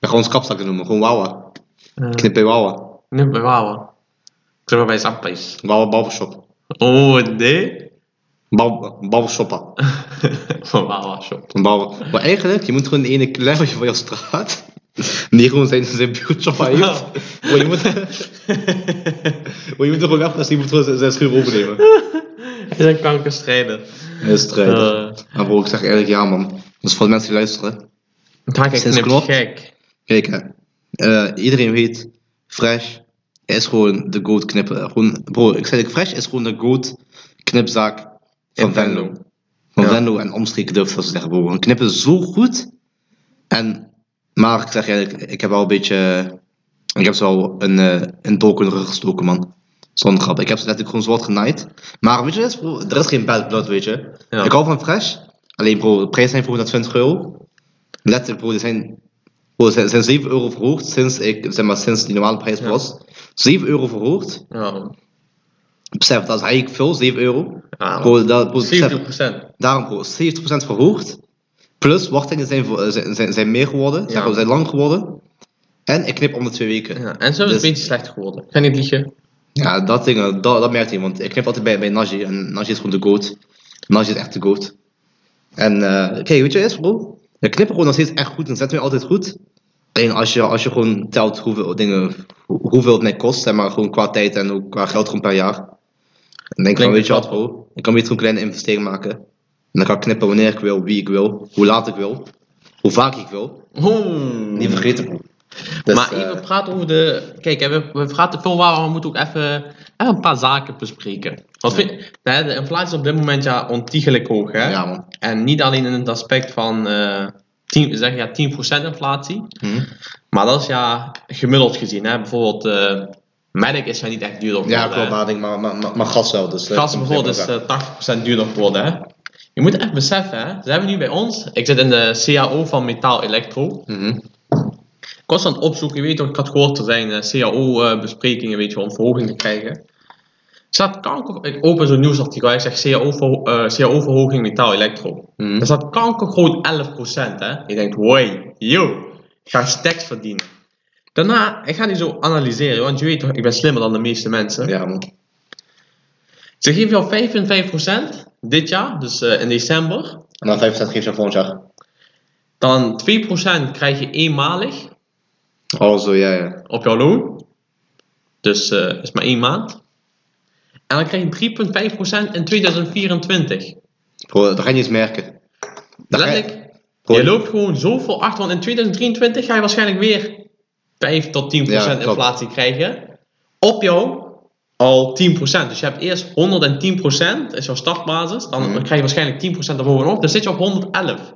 Speaker 1: ben gewoon skapzakken noemen, gewoon wawa.
Speaker 2: Eh,
Speaker 1: Knip bij wawa.
Speaker 2: Knip bij Wawa. Ik zeg maar bij Zappies.
Speaker 1: Wawa barbershop.
Speaker 2: Oh, nee.
Speaker 1: Bar- Barbershoppa.
Speaker 2: Van Wawa Shop.
Speaker 1: Een barber- Maar eigenlijk, je moet gewoon de ene klerkje van je straat, die gewoon zijn, zijn beautyshoppa heeft. Bro, je moet, bro, je moet er gewoon weg, dus je moet gewoon zijn- zijn schuur overnemen.
Speaker 2: Hij is een kankerstrijder. Eh,
Speaker 1: Dat is strijdig. Maar bro, ik zeg eerlijk, ja man. Dus voor de mensen die luisteren.
Speaker 2: Taak en
Speaker 1: Sinds
Speaker 2: knip,
Speaker 1: klopt.
Speaker 2: gek.
Speaker 1: Kijk hè. Eh, iedereen weet, Fresh is gewoon de goat knippen. Gewoon, bro, ik zeg ik, Fresh is gewoon de goat knipzaak van
Speaker 2: In
Speaker 1: Venlo.
Speaker 2: Venlo.
Speaker 1: Van
Speaker 2: Ja.
Speaker 1: Venlo en omstreken durf ik wel te zeggen, bro. We knippen zo goed. En, maar ik zeg eerlijk, ik heb wel een beetje, ik heb ze wel een, eh een dolk in de rug gestoken man. Zonder grap. Ik heb ze letterlijk gewoon zwart genaaid. Maar weet je, wat is, bro, er is geen bad blood, weet je.
Speaker 2: Ja.
Speaker 1: Ik hou van Fresh. Alleen bro, de prijzen zijn voor 120 euro. Letterlijk bro, die zijn, bro, ze zijn, zijn 7 euro verhoogd sinds, ik, zeg maar, sinds die normale prijs
Speaker 2: Ja.
Speaker 1: was. 7 euro verhoogd.
Speaker 2: Ja.
Speaker 1: Besef, dat is eigenlijk veel, 7 euro.
Speaker 2: Ja,
Speaker 1: Bro, dat, bro, besef,
Speaker 2: 70%.
Speaker 1: daarom bro, 70% verhoogd. Plus, wachtingen zijn, voor- eh, zijn, zijn, zijn meer geworden,
Speaker 2: Ja.
Speaker 1: zeg maar, zijn lang geworden. En ik knip om de twee weken. Ja,
Speaker 2: Ja, en zo is
Speaker 1: Dus-
Speaker 2: het een beetje slecht geworden. Ik ga niet liegen.
Speaker 1: dat, ding, eh, dat, dat merkt hij, want ik knip altijd bij, bij Naji. En Naji is gewoon de goat. Naji is echt de goat. En eh, kijk, weet je wat is bro? We knippen gewoon nog steeds echt goed en zetten we altijd goed. Alleen als je, als je gewoon telt hoeveel, dingen, hoe- hoeveel het mij kost, zeg maar gewoon qua tijd en ook qua geld gewoon per jaar. Dan denk ik van,
Speaker 2: Klinkt
Speaker 1: weet je
Speaker 2: het
Speaker 1: wat bro, ik kan beter een kleine investering maken. En dan kan ik knippen wanneer ik wil, wie ik wil, hoe laat ik wil, hoe vaak ik wil.
Speaker 2: Oeh.
Speaker 1: Niet vergeten bro. Hmm. Dus,
Speaker 2: maar
Speaker 1: eh,
Speaker 2: even praten over de. Kijk, hè, we, we praten veel waar, maar we moeten ook even, even een paar zaken bespreken. Wat vind, hè, de inflatie is op dit moment ja ontiegelijk hoog. Hè?
Speaker 1: Ja man.
Speaker 2: En niet alleen in het aspect van eh 10, zeg, ja, 10% inflatie,
Speaker 1: Hm?
Speaker 2: maar dat is ja gemiddeld gezien. Hè? Bijvoorbeeld, eh melk is ja niet echt duurder
Speaker 1: Ja,
Speaker 2: geworden,
Speaker 1: klopt,
Speaker 2: hè.
Speaker 1: maar, maar, maar, maar gas wel. Dus, eh,
Speaker 2: Eh, Gas
Speaker 1: komt
Speaker 2: bijvoorbeeld is
Speaker 1: helemaal weg.
Speaker 2: eh, 80% duurder geworden. Hè? Je moet echt beseffen, hè? ze hebben nu bij ons, ik zit in de CAO van Metaal Electro.
Speaker 1: Mhm.
Speaker 2: Ik was aan het opzoeken, je weet toch, ik had gehoord, er zijn eh, CAO-besprekingen, weet je, wel, om verhoging te krijgen. Er staat kanker, ik open zo'n nieuwsartikel, ik zeg eh, CAO-verhoging Metaal Electro.
Speaker 1: Mhm.
Speaker 2: Er staat kanker gewoon 11%, hè. Je denkt, woi, yo, ik ga stacks verdienen. Daarna, ik ga die zo analyseren, want je weet toch, ik ben slimmer dan de meeste mensen.
Speaker 1: Ja man.
Speaker 2: Ze geven jou 5,5% dit jaar, dus eh, in december.
Speaker 1: En dan 65 geef je volgend jaar.
Speaker 2: Dan 2% krijg je eenmalig.
Speaker 1: Oh, zo, ja, ja.
Speaker 2: op jouw loon. Dus eh is maar één maand. En dan krijg je 3,5% in 2024.
Speaker 1: Bro, dat ga je niet eens merken. Dat ga je-
Speaker 2: Letterlijk.
Speaker 1: Bro,
Speaker 2: Je loopt gewoon zoveel achter, want in 2023 ga je waarschijnlijk weer 5 tot 10%
Speaker 1: Ja, klopt.
Speaker 2: inflatie krijgen. Op jou al 10%. Dus je hebt eerst 110% is jouw startbasis,
Speaker 1: Mhm.
Speaker 2: dan krijg je waarschijnlijk 10% erbovenop. Dan zit je op 111,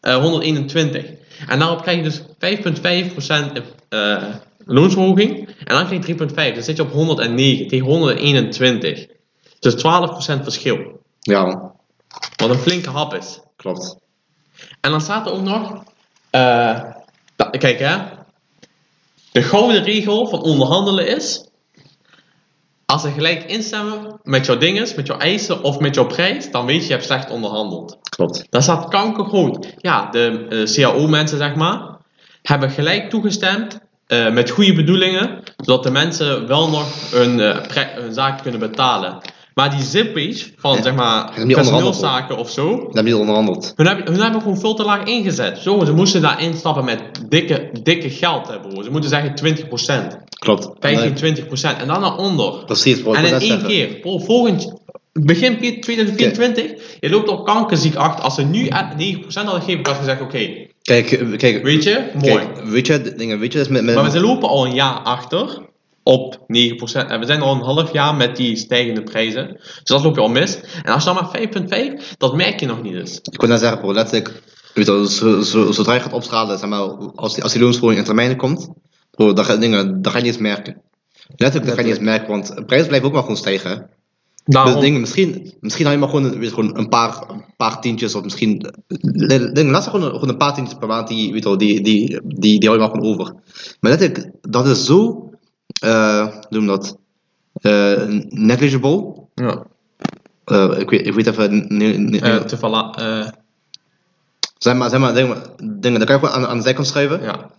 Speaker 2: eh, 121. En daarop krijg je dus 5,5% in- eh loonsverhoging. En dan krijg je 3,5. Dan zit je op 109 tegen 121. Dus 12% verschil.
Speaker 1: Ja, man.
Speaker 2: Wat een flinke hap is.
Speaker 1: Klopt.
Speaker 2: En dan staat er ook nog. eh, nou, kijk hè. De gouden regel van onderhandelen is. Als ze gelijk instemmen met jouw dinges, met jouw eisen of met jouw prijs, dan weet je, je hebt slecht onderhandeld.
Speaker 1: Klopt.
Speaker 2: Dan staat kankergroot. Ja, de eh, CAO-mensen, zeg maar, hebben gelijk toegestemd eh, met goede bedoelingen, zodat de mensen wel nog hun, eh, pre- hun zaak kunnen betalen. Maar die zippage van,
Speaker 1: Ja,
Speaker 2: zeg maar,
Speaker 1: hebben niet onderhandeld,
Speaker 2: personeelszaken of zo,
Speaker 1: Dat heb je onderhandeld.
Speaker 2: hun hebben, hun hebben gewoon veel te laag ingezet. Zo, ze moesten daar instappen met dikke, dikke geld, hè, bro. Ze moeten zeggen 20%,
Speaker 1: Klopt.
Speaker 2: 15,
Speaker 1: Nee,
Speaker 2: 20% en dan naar onder.
Speaker 1: Precies, bro. ik
Speaker 2: En
Speaker 1: wou
Speaker 2: in
Speaker 1: net
Speaker 2: één
Speaker 1: zeggen.
Speaker 2: keer, bro, volgend, begin 2024, je loopt op kankerziek achter. Als ze nu eh, 9% hadden gegeven, had ik gezegd, oké,
Speaker 1: Kijk, eh, kijk,
Speaker 2: weet je, mooi.
Speaker 1: kijk, weet je, de dingen, weet je, dat is met, met,
Speaker 2: Maar ze lopen al een jaar achter op 9%. En we zijn al een half jaar met die stijgende prijzen. Dus dat loop je al mis. En als je dan maar 5,5, dat merk je nog niet eens.
Speaker 1: ik kon net zeggen, bro, letterlijk, weet je, wel, zo, zo, zodra je gaat opschalen, zeg maar, als die, als die loonsverhoging in termijnen komt, bro, dan ga, dingen, dan ga je niet eens merken. Letterlijk, dat ga je niet eens merken, want de prijs blijft ook maar gewoon stijgen. hè. Dus
Speaker 2: Daarom-
Speaker 1: dingen, misschien, misschien had je maar gewoon, een- weet je, gewoon een, paar, een paar tientjes, of misschien, eh, dingen, laat ze gewoon, gewoon een paar tientjes per maand, die, weet je, wel, die, die, die, die, hou je maar gewoon over. Maar letterlijk, dat is zo, eh hoe noem dat, eh, negligible,
Speaker 2: ja.
Speaker 1: Eh, ik, weet, ik weet even. Nee, nee,
Speaker 2: Eh, te verla- eh,
Speaker 1: zeg maar, zeg maar, denk maar dingen, dat kan je gewoon aan, aan de zijkant schuiven.
Speaker 2: ja,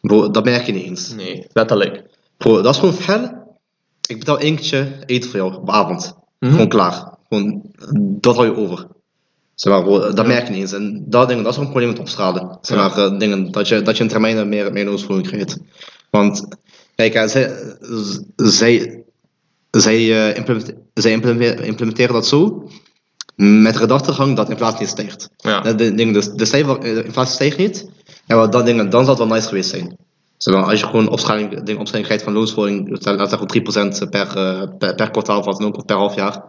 Speaker 1: Bro, dat merk je niet eens.
Speaker 2: nee, letterlijk.
Speaker 1: Bro, dat is gewoon fel. Ik betaal één keertje eten voor jou op avond.
Speaker 2: Mhm.
Speaker 1: Gewoon klaar. Gewoon, dat hou je over. Zeg maar, bro, dat merk je niet eens. En dat, ding, dat is gewoon probleem met opschalen. Zeg
Speaker 2: Ja.
Speaker 1: maar, eh, dingen, dat je, dat je in termijnen meer, meer loonsvergoeding krijgt. Want, kijk, eh, zij, z- zij, zij, eh, implemente- zij implemente- implementeren dat zo met de gedachtegang dat inflatie niet stijgt.
Speaker 2: Ja.
Speaker 1: Dat de, ding, dus de, cijfer- eh, de inflatie stijgt niet. En wat dat ding, dan zou het wel nice geweest zijn. Zodat als je gewoon opschaling, ding, opschaling krijgt van loonsverhoging, dus laat zeggen 3% per, eh, per, per kwartaal of wat dan ook, of per half jaar.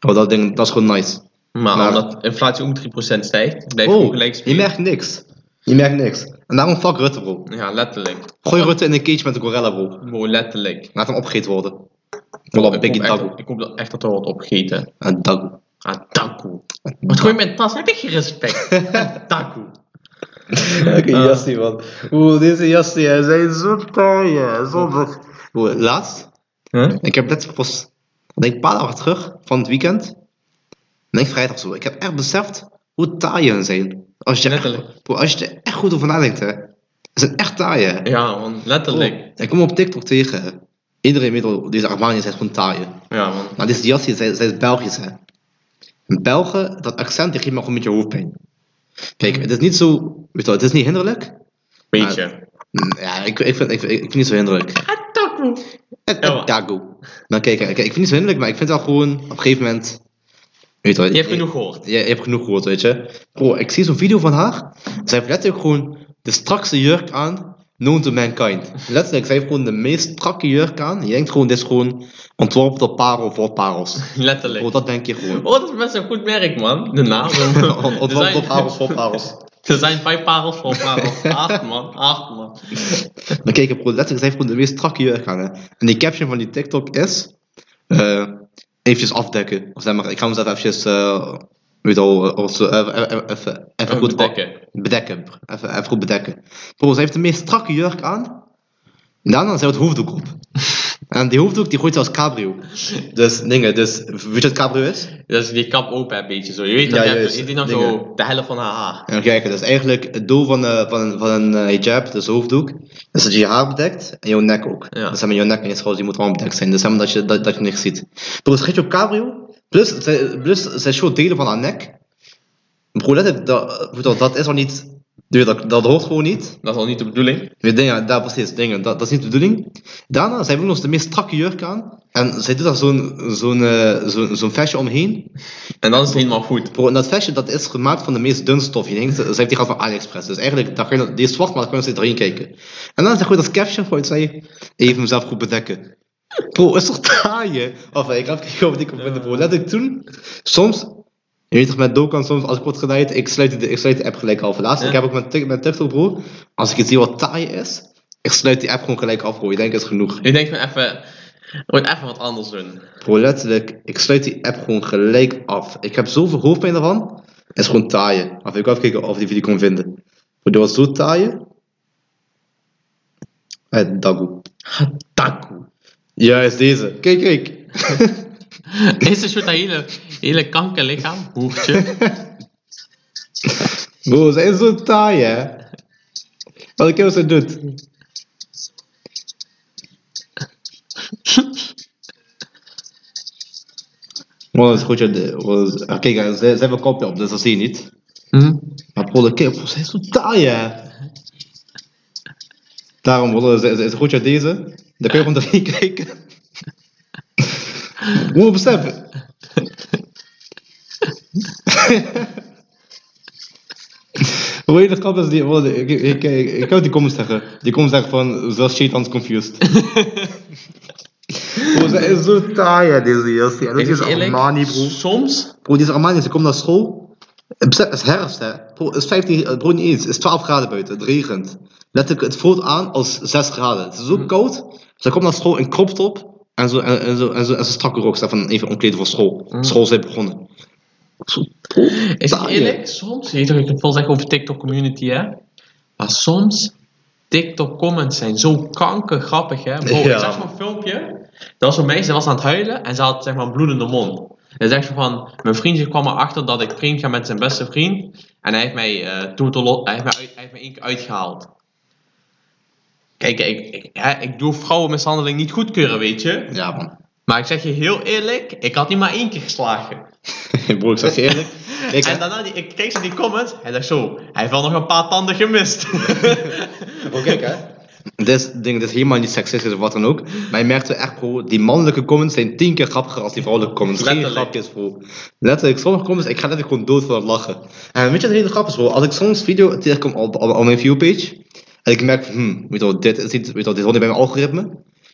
Speaker 1: Maar dat, ding, dat is gewoon nice.
Speaker 2: Maar,
Speaker 1: Maar-
Speaker 2: omdat inflatie om 3% stijgt, blijft
Speaker 1: Oh,
Speaker 2: gewoon gelijk
Speaker 1: je
Speaker 2: spelen.
Speaker 1: merkt niks. Je merkt niks. En daarom fuck Rutte, bro.
Speaker 2: Ja, letterlijk.
Speaker 1: Gooi Rutte in een cage met een gorilla, bro.
Speaker 2: Wow, letterlijk.
Speaker 1: Laat hem opgegeten worden. Voilà,
Speaker 2: ik,
Speaker 1: Biggie
Speaker 2: hoop
Speaker 1: Dago.
Speaker 2: echt, ik hoop dat echt dat er wordt opgegeten.
Speaker 1: En Dago.
Speaker 2: Ah, dankoe. Wat gooi je met tas? Heb ik geen respect? Eh, dankoe.
Speaker 1: Oké, Jassie, man. Oeh, deze Jassie, hij zijn zo taai, zondig. Laatst,
Speaker 2: Huh?
Speaker 1: Ik heb net pas, ik denk een paar dagen terug van het weekend. Ik Denk vrijdag zo. Ik heb echt beseft hoe taai hun zijn. Als je, echt,
Speaker 2: Letterlijk.
Speaker 1: bro, als je er echt goed over nadenkt, hè. Ze zijn echt taai, hè.
Speaker 2: Ja, man, letterlijk.
Speaker 1: Bro, ik kom op TikTok tegen. hè. Iedereen weet al, deze Armaniërs zijn gewoon taaien.
Speaker 2: Ja, man.
Speaker 1: Maar deze Jassie, zij, zij is Belgisch, hè. En Belgen, dat accent, die geeft me gewoon een beetje hoofdpijn. Kijk, het is niet zo, weet je wel, het is niet hinderlijk.
Speaker 2: Weet je.
Speaker 1: Mm, Ja, ik, ik, vind, ik, ik, ik vind het niet zo Eh, hinderlijk.
Speaker 2: Ah, dankoe.
Speaker 1: Het
Speaker 2: Ja, maar-
Speaker 1: Dago. Nou, kijk, kijk, ik vind het niet zo hinderlijk, maar ik vind wel gewoon op een gegeven moment. Weet je, wel,
Speaker 2: Je hebt
Speaker 1: ik-
Speaker 2: genoeg gehoord.
Speaker 1: Je, je hebt genoeg gehoord, weet je. Bro, ik zie zo'n video van haar. Zij heeft letterlijk gewoon de strakste jurk aan, known to mankind. Letterlijk, zij heeft gewoon de meest strakke jurk aan. Je denkt gewoon, dit is gewoon ontworpen door parel voor parels.
Speaker 2: Letterlijk.
Speaker 1: Bro, dat denk je gewoon.
Speaker 2: Oh, dat is best een goed merk, man. De naam.
Speaker 1: Ontworpen door parels voor parels.
Speaker 2: Er zijn vijf parels voor parels. Acht, man. Acht, man.
Speaker 1: Maar kijk, bro, letterlijk, zij heeft gewoon de meest strakke jurk aan. Hè. En die caption van die TikTok is... eh eventjes afdekken. Of zeg maar, ik ga hem zelf eventjes... eh, weet je wel, eh, of zo, even, even, even, even goed
Speaker 2: bedekken.
Speaker 1: Bedekken. bro. Even, even goed bedekken. Bro, zij heeft de meest strakke jurk aan. En daarna zet het hoofddoek op. En die hoofddoek, die gooit ze als cabrio. Dus, dingen, dus... Weet je wat cabrio is?
Speaker 2: Dat is die kap open een beetje zo. Je weet
Speaker 1: Ja,
Speaker 2: dat je hebt-
Speaker 1: juist.
Speaker 2: je ziet nog zo
Speaker 1: Dingen.
Speaker 2: de helft van haar haar.
Speaker 1: En kijk, dat is dus eigenlijk het doel van, eh, van, van een eh, hijab, dus hoofddoek, is dat je je haar bedekt en jouw nek ook.
Speaker 2: Ja.
Speaker 1: Dus zeg maar, jouw nek en je schouders die moeten allemaal bedekt zijn, dus zeg maar dat je, dat, dat je niks ziet. Bro, het gaat je op cabrio, plus, zij- plus zij showt delen van haar nek. Bro, let op, dat, eh, hoe dat, dat is al niet Dude, dat, dat hoort gewoon niet.
Speaker 2: Dat is al niet de bedoeling.
Speaker 1: Weet dingen, daar precies, dingen, dat, dat is niet de bedoeling. Daarna, zij wil ons de meest strakke jurk aan. En zij doet daar zo'n zo'n eh, zo'n zo'n vestje omheen.
Speaker 2: En dan is het helemaal goed.
Speaker 1: Bro, en dat vestje dat is gemaakt van de meest dunne stof. Je denkt, ze zij heeft die gehad van AliExpress. Dus eigenlijk, daar kun je, die is zwart, maar daar kun je erin kijken. En dan zegt goed als caption, gooit zij, even mezelf goed bedekken. Bro, is toch taaien? Of eh, ik heb gekeken of ik kon vinden, bro. Let ik toen, soms, je weet toch, met Dokan soms, als ik word geleid, ik sluit, de, ik sluit de app gelijk af. Laatst,
Speaker 2: Ja.
Speaker 1: ik heb ook met, Tik- met TikTok, bro, als ik het zie wat taai is, ik sluit die app gewoon gelijk af, bro. Ik denk, het is genoeg.
Speaker 2: Ik denk me even, ik moet even wat anders doen.
Speaker 1: Bro, letterlijk, ik sluit die app gewoon gelijk af. Ik heb zoveel hoofdpijn ervan. Het is gewoon taaien. Of ik wil even kijken of ik die video kon vinden. Bro, dit was zo taaien. Het dagoe.
Speaker 2: Hataku.
Speaker 1: Juist deze. Kijk, kijk.
Speaker 2: Is het zo dat hele, hele kankerlichaam? Boertje.
Speaker 1: Bro, ze is zo taai, hè. Wat ik wat ze doet. Maar dat is goed, ja. de- was- ah, Kijk, hè, ze, ze hebben een kopje op, dus dat zie je niet. Maar bro, de kip, ze is zo taai, hè. Daarom, bro, ze, ze is goed, ja, deze. Dan kun je gewoon erin kijken. Bro, besef. Hoe heet dat kap is die... bro, ik, ik, ik, ik, ik kan die comments zeggen. Die comments zeggen van, zoals Shaitans confused. bro, ze is zo taai, hè, deze jasje. En dat is Armani, bro.
Speaker 2: soms
Speaker 1: Bro, deze Armani, ze komt naar school. Eh, Besef, het is herfst, hè. Bro, het is 15, eh, bro, niet eens. Het is 12 graden buiten, het regent. Letterlijk, het voelt aan als 6 graden. Het is zo koud. Ze komt naar school in crop top en zo, en, en zo, en zo, en zo'n strakke rok. Ze van even omkleden voor school. School is weer begonnen. Hm. Zo, bro,
Speaker 2: Is het
Speaker 1: taaie.
Speaker 2: eerlijk? Soms, je weet toch, ik kan veel zeggen over TikTok community, hè? Maar soms, TikTok comments zijn zo kanker grappig, hè? Bro,
Speaker 1: Ja.
Speaker 2: ik zag zo'n filmpje, dat was zo'n meisje, dat was aan het huilen en ze had zeg maar een bloedende mond. En ze zegt zo van, mijn vriendje kwam erachter dat ik vriend ga met zijn beste vriend en hij heeft mij, eh toetelot, hij heeft mij, uit- hij heeft mij één keer uitgehaald. Kijk, ik, ik, hè, ik doe vrouwenmishandeling niet goedkeuren, weet je.
Speaker 1: Ja, man.
Speaker 2: Maar ik zeg je heel eerlijk, ik had niet maar één keer geslagen.
Speaker 1: bro, ik zeg je eerlijk. Kijk,
Speaker 2: En daarna, die, ik keek ze die comments, hij dacht zo, hij heeft wel nog een paar tanden gemist.
Speaker 1: Bro, Oh, kijk, hè. Dit is, ding, dit is helemaal niet seksistisch of wat dan ook. Maar je merkt wel echt, bro, die mannelijke comments zijn tien keer grappiger als die vrouwelijke comments. Geen
Speaker 2: Letterlijk.
Speaker 1: grapjes, bro. Letterlijk, sommige comments, ik ga letterlijk gewoon dood van het lachen. En weet je wat hele grap is, bro? Als ik soms video tegenkom op, op, op mijn viewpage, en ik merk, van, hmm, weet je wel, dit, is niet, weet je wel, dit hoort niet bij mijn algoritme.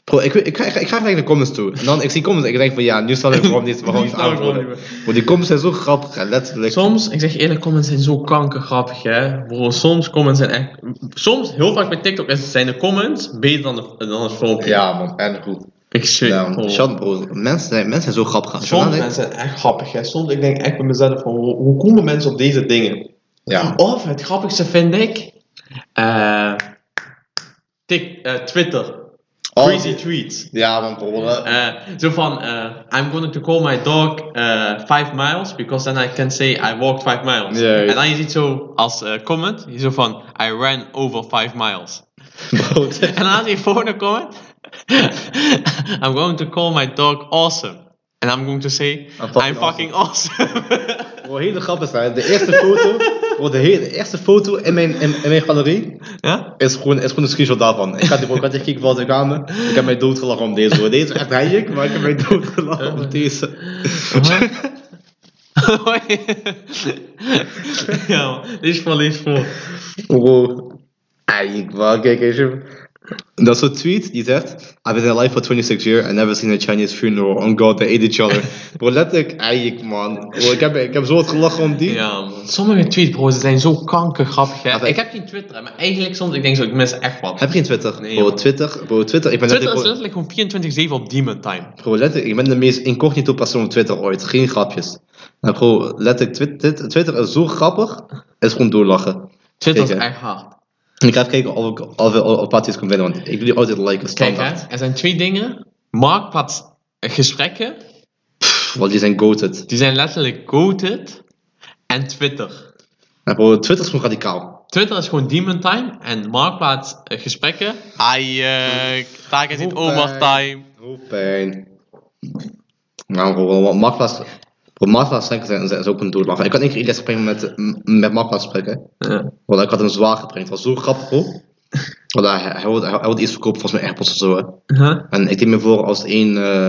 Speaker 1: Bro, ik, ik, ik, ga- ik ga gelijk naar de comments toe. En dan, ik zie comments en ik denk van, ja, nu snap ik waarom dit waarom
Speaker 2: Nu
Speaker 1: dit
Speaker 2: snap ik waarom
Speaker 1: aanvallen. Bro, die comments zijn zo grappig, hè, letterlijk.
Speaker 2: soms, ik zeg je eerlijk, comments zijn zo kankergrappig hè. Bro, soms comments zijn echt, soms, heel vaak bij TikTok is- zijn de comments beter dan, de, dan het filmpje.
Speaker 1: Ja, man, en goed.
Speaker 2: Ik zweer.
Speaker 1: Ja, man.
Speaker 2: bro.
Speaker 1: Shut, bro. Mensen zijn, mensen zijn zo grappig. Als je
Speaker 2: Sommige
Speaker 1: nadenkt-
Speaker 2: mensen zijn echt grappig hè. Soms, ik denk echt bij mezelf van, hoe, hoe komen mensen op deze dingen?
Speaker 1: Ja.
Speaker 2: Of, het grappigste vind ik, eh, Tik, eh, Twitter.
Speaker 1: Oh,
Speaker 2: Crazy tweets.
Speaker 1: Ja, want rollen.
Speaker 2: Eh, zo van, eh, I'm going to call my dog eh, five miles because then I can say I walked five miles.
Speaker 1: Ja, ja.
Speaker 2: En dan je ziet zo als eh, comment, je zo van, I ran over five miles. En dan had hij volgende comment, I'm going to call my dog awesome. And I'm going to say,
Speaker 1: Ah, fucking
Speaker 2: dus I'm fucking awesome.
Speaker 1: Bro, hele grap is dat. De eerste foto, bro, de, hele, de eerste foto in mijn, in, in mijn galerie
Speaker 2: ja?
Speaker 1: is gewoon, is gewoon een screenshot daarvan. Ik had die ik had echt gekeken voor de kamer. Ik heb mij doodgelachen om deze. Hoor. Deze is echt heijik, maar ik heb mij doodgelachen om deze.
Speaker 2: ja, man. dit is van lees voor.
Speaker 1: Bro, heijik, man. Kijk eens. joh. Dat is zo'n tweet die zegt: I've been alive for 26 years and never seen a Chinese funeral. On God, they ate each other. Bro, letterlijk, heijik, man. Bro, ik, heb, ik heb zo wat gelachen om die.
Speaker 2: Ja, man. Sommige tweets, bro, ze zijn zo kankergrappig. Hè?
Speaker 1: Ja, dat-
Speaker 2: Ik heb geen Twitter, hè, maar eigenlijk soms, ik denk zo, ik mis echt wat.
Speaker 1: Heb je geen Twitter?
Speaker 2: Nee,
Speaker 1: bro,
Speaker 2: man.
Speaker 1: Twitter, bro, Twitter. Ik ben
Speaker 2: Twitter is
Speaker 1: letterlijk-
Speaker 2: letterlijk gewoon 24-7 op demon time.
Speaker 1: Bro, letterlijk, ik ben de meest incognito persoon op Twitter ooit. Geen grapjes. En bro, letterlijk, Twit- Twit- Twitter is zo grappig. Het is gewoon doorlachen.
Speaker 2: Twitter
Speaker 1: Zeker.
Speaker 2: is echt hard.
Speaker 1: En ik ga even kijken of ik of, we- of, of parties kan vinden, want ik wil die altijd liken,
Speaker 2: Kijk,
Speaker 1: standaard.
Speaker 2: hè, er zijn twee dingen. Marktplaats eh, gesprekken,
Speaker 1: Pff, Want die zijn goated.
Speaker 2: die zijn letterlijk goated. En Twitter.
Speaker 1: En bro, Nou, Twitter is gewoon radicaal.
Speaker 2: Twitter is gewoon demon time. En marktplaats eh, gesprekken. Ai, uh, daar is het
Speaker 1: Hoepijn.
Speaker 2: overtime.
Speaker 1: Hoofdpijn. Nou, bro, wat makkelijk. Bro, Martha Sanchez is- is ook een doodlacher. Ik kan één keer Elias springen met, m- met Martha spreken.
Speaker 2: Ja.
Speaker 1: Want ik had hem zwaar geprinkt. Het was zo grappig, bro. Want hij, hij, wilde, hij wilde iets verkopen, volgens mij AirPods of zo. Hè.
Speaker 2: Huh?
Speaker 1: En ik deed me voor als één, eh,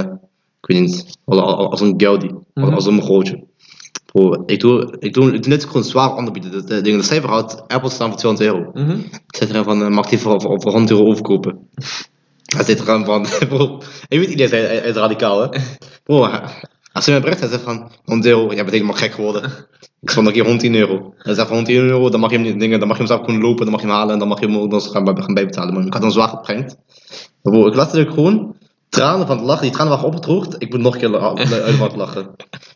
Speaker 1: ik weet niet, als, als- als een Gaudi, als,
Speaker 2: Mhm.
Speaker 1: als een grootje. Bro, ik doe, ik doe, ik doe net gewoon zwaar aanbieden. Dat eh, ding, de cijfer houdt AirPods staan voor 200 euro.
Speaker 2: Mhm.
Speaker 1: Ik zit er van, eh, mag ik die voor, voor, voor 100 euro overkopen? Hij zit er van, bro, ik weet iedereen, hij, hij is radicaal hè. Bro, hij- als hij mij bericht, hij zegt van, 100 euro, jij bent helemaal gek geworden. Ik vond een keer 110 euro. Hij zegt van 110 euro, dan mag je hem niet dingen, dan mag je hem zelf gewoon lopen, dan mag je hem halen en dan mag je hem ook nog eens gaan, bij- gaan bijbetalen. Maar ik had hem zwaar geprengd. Bro, ik laat het ook gewoon, tranen van het lachen, die tranen waren opgedroogd, ik moet nog een keer la- la- uit van het lachen.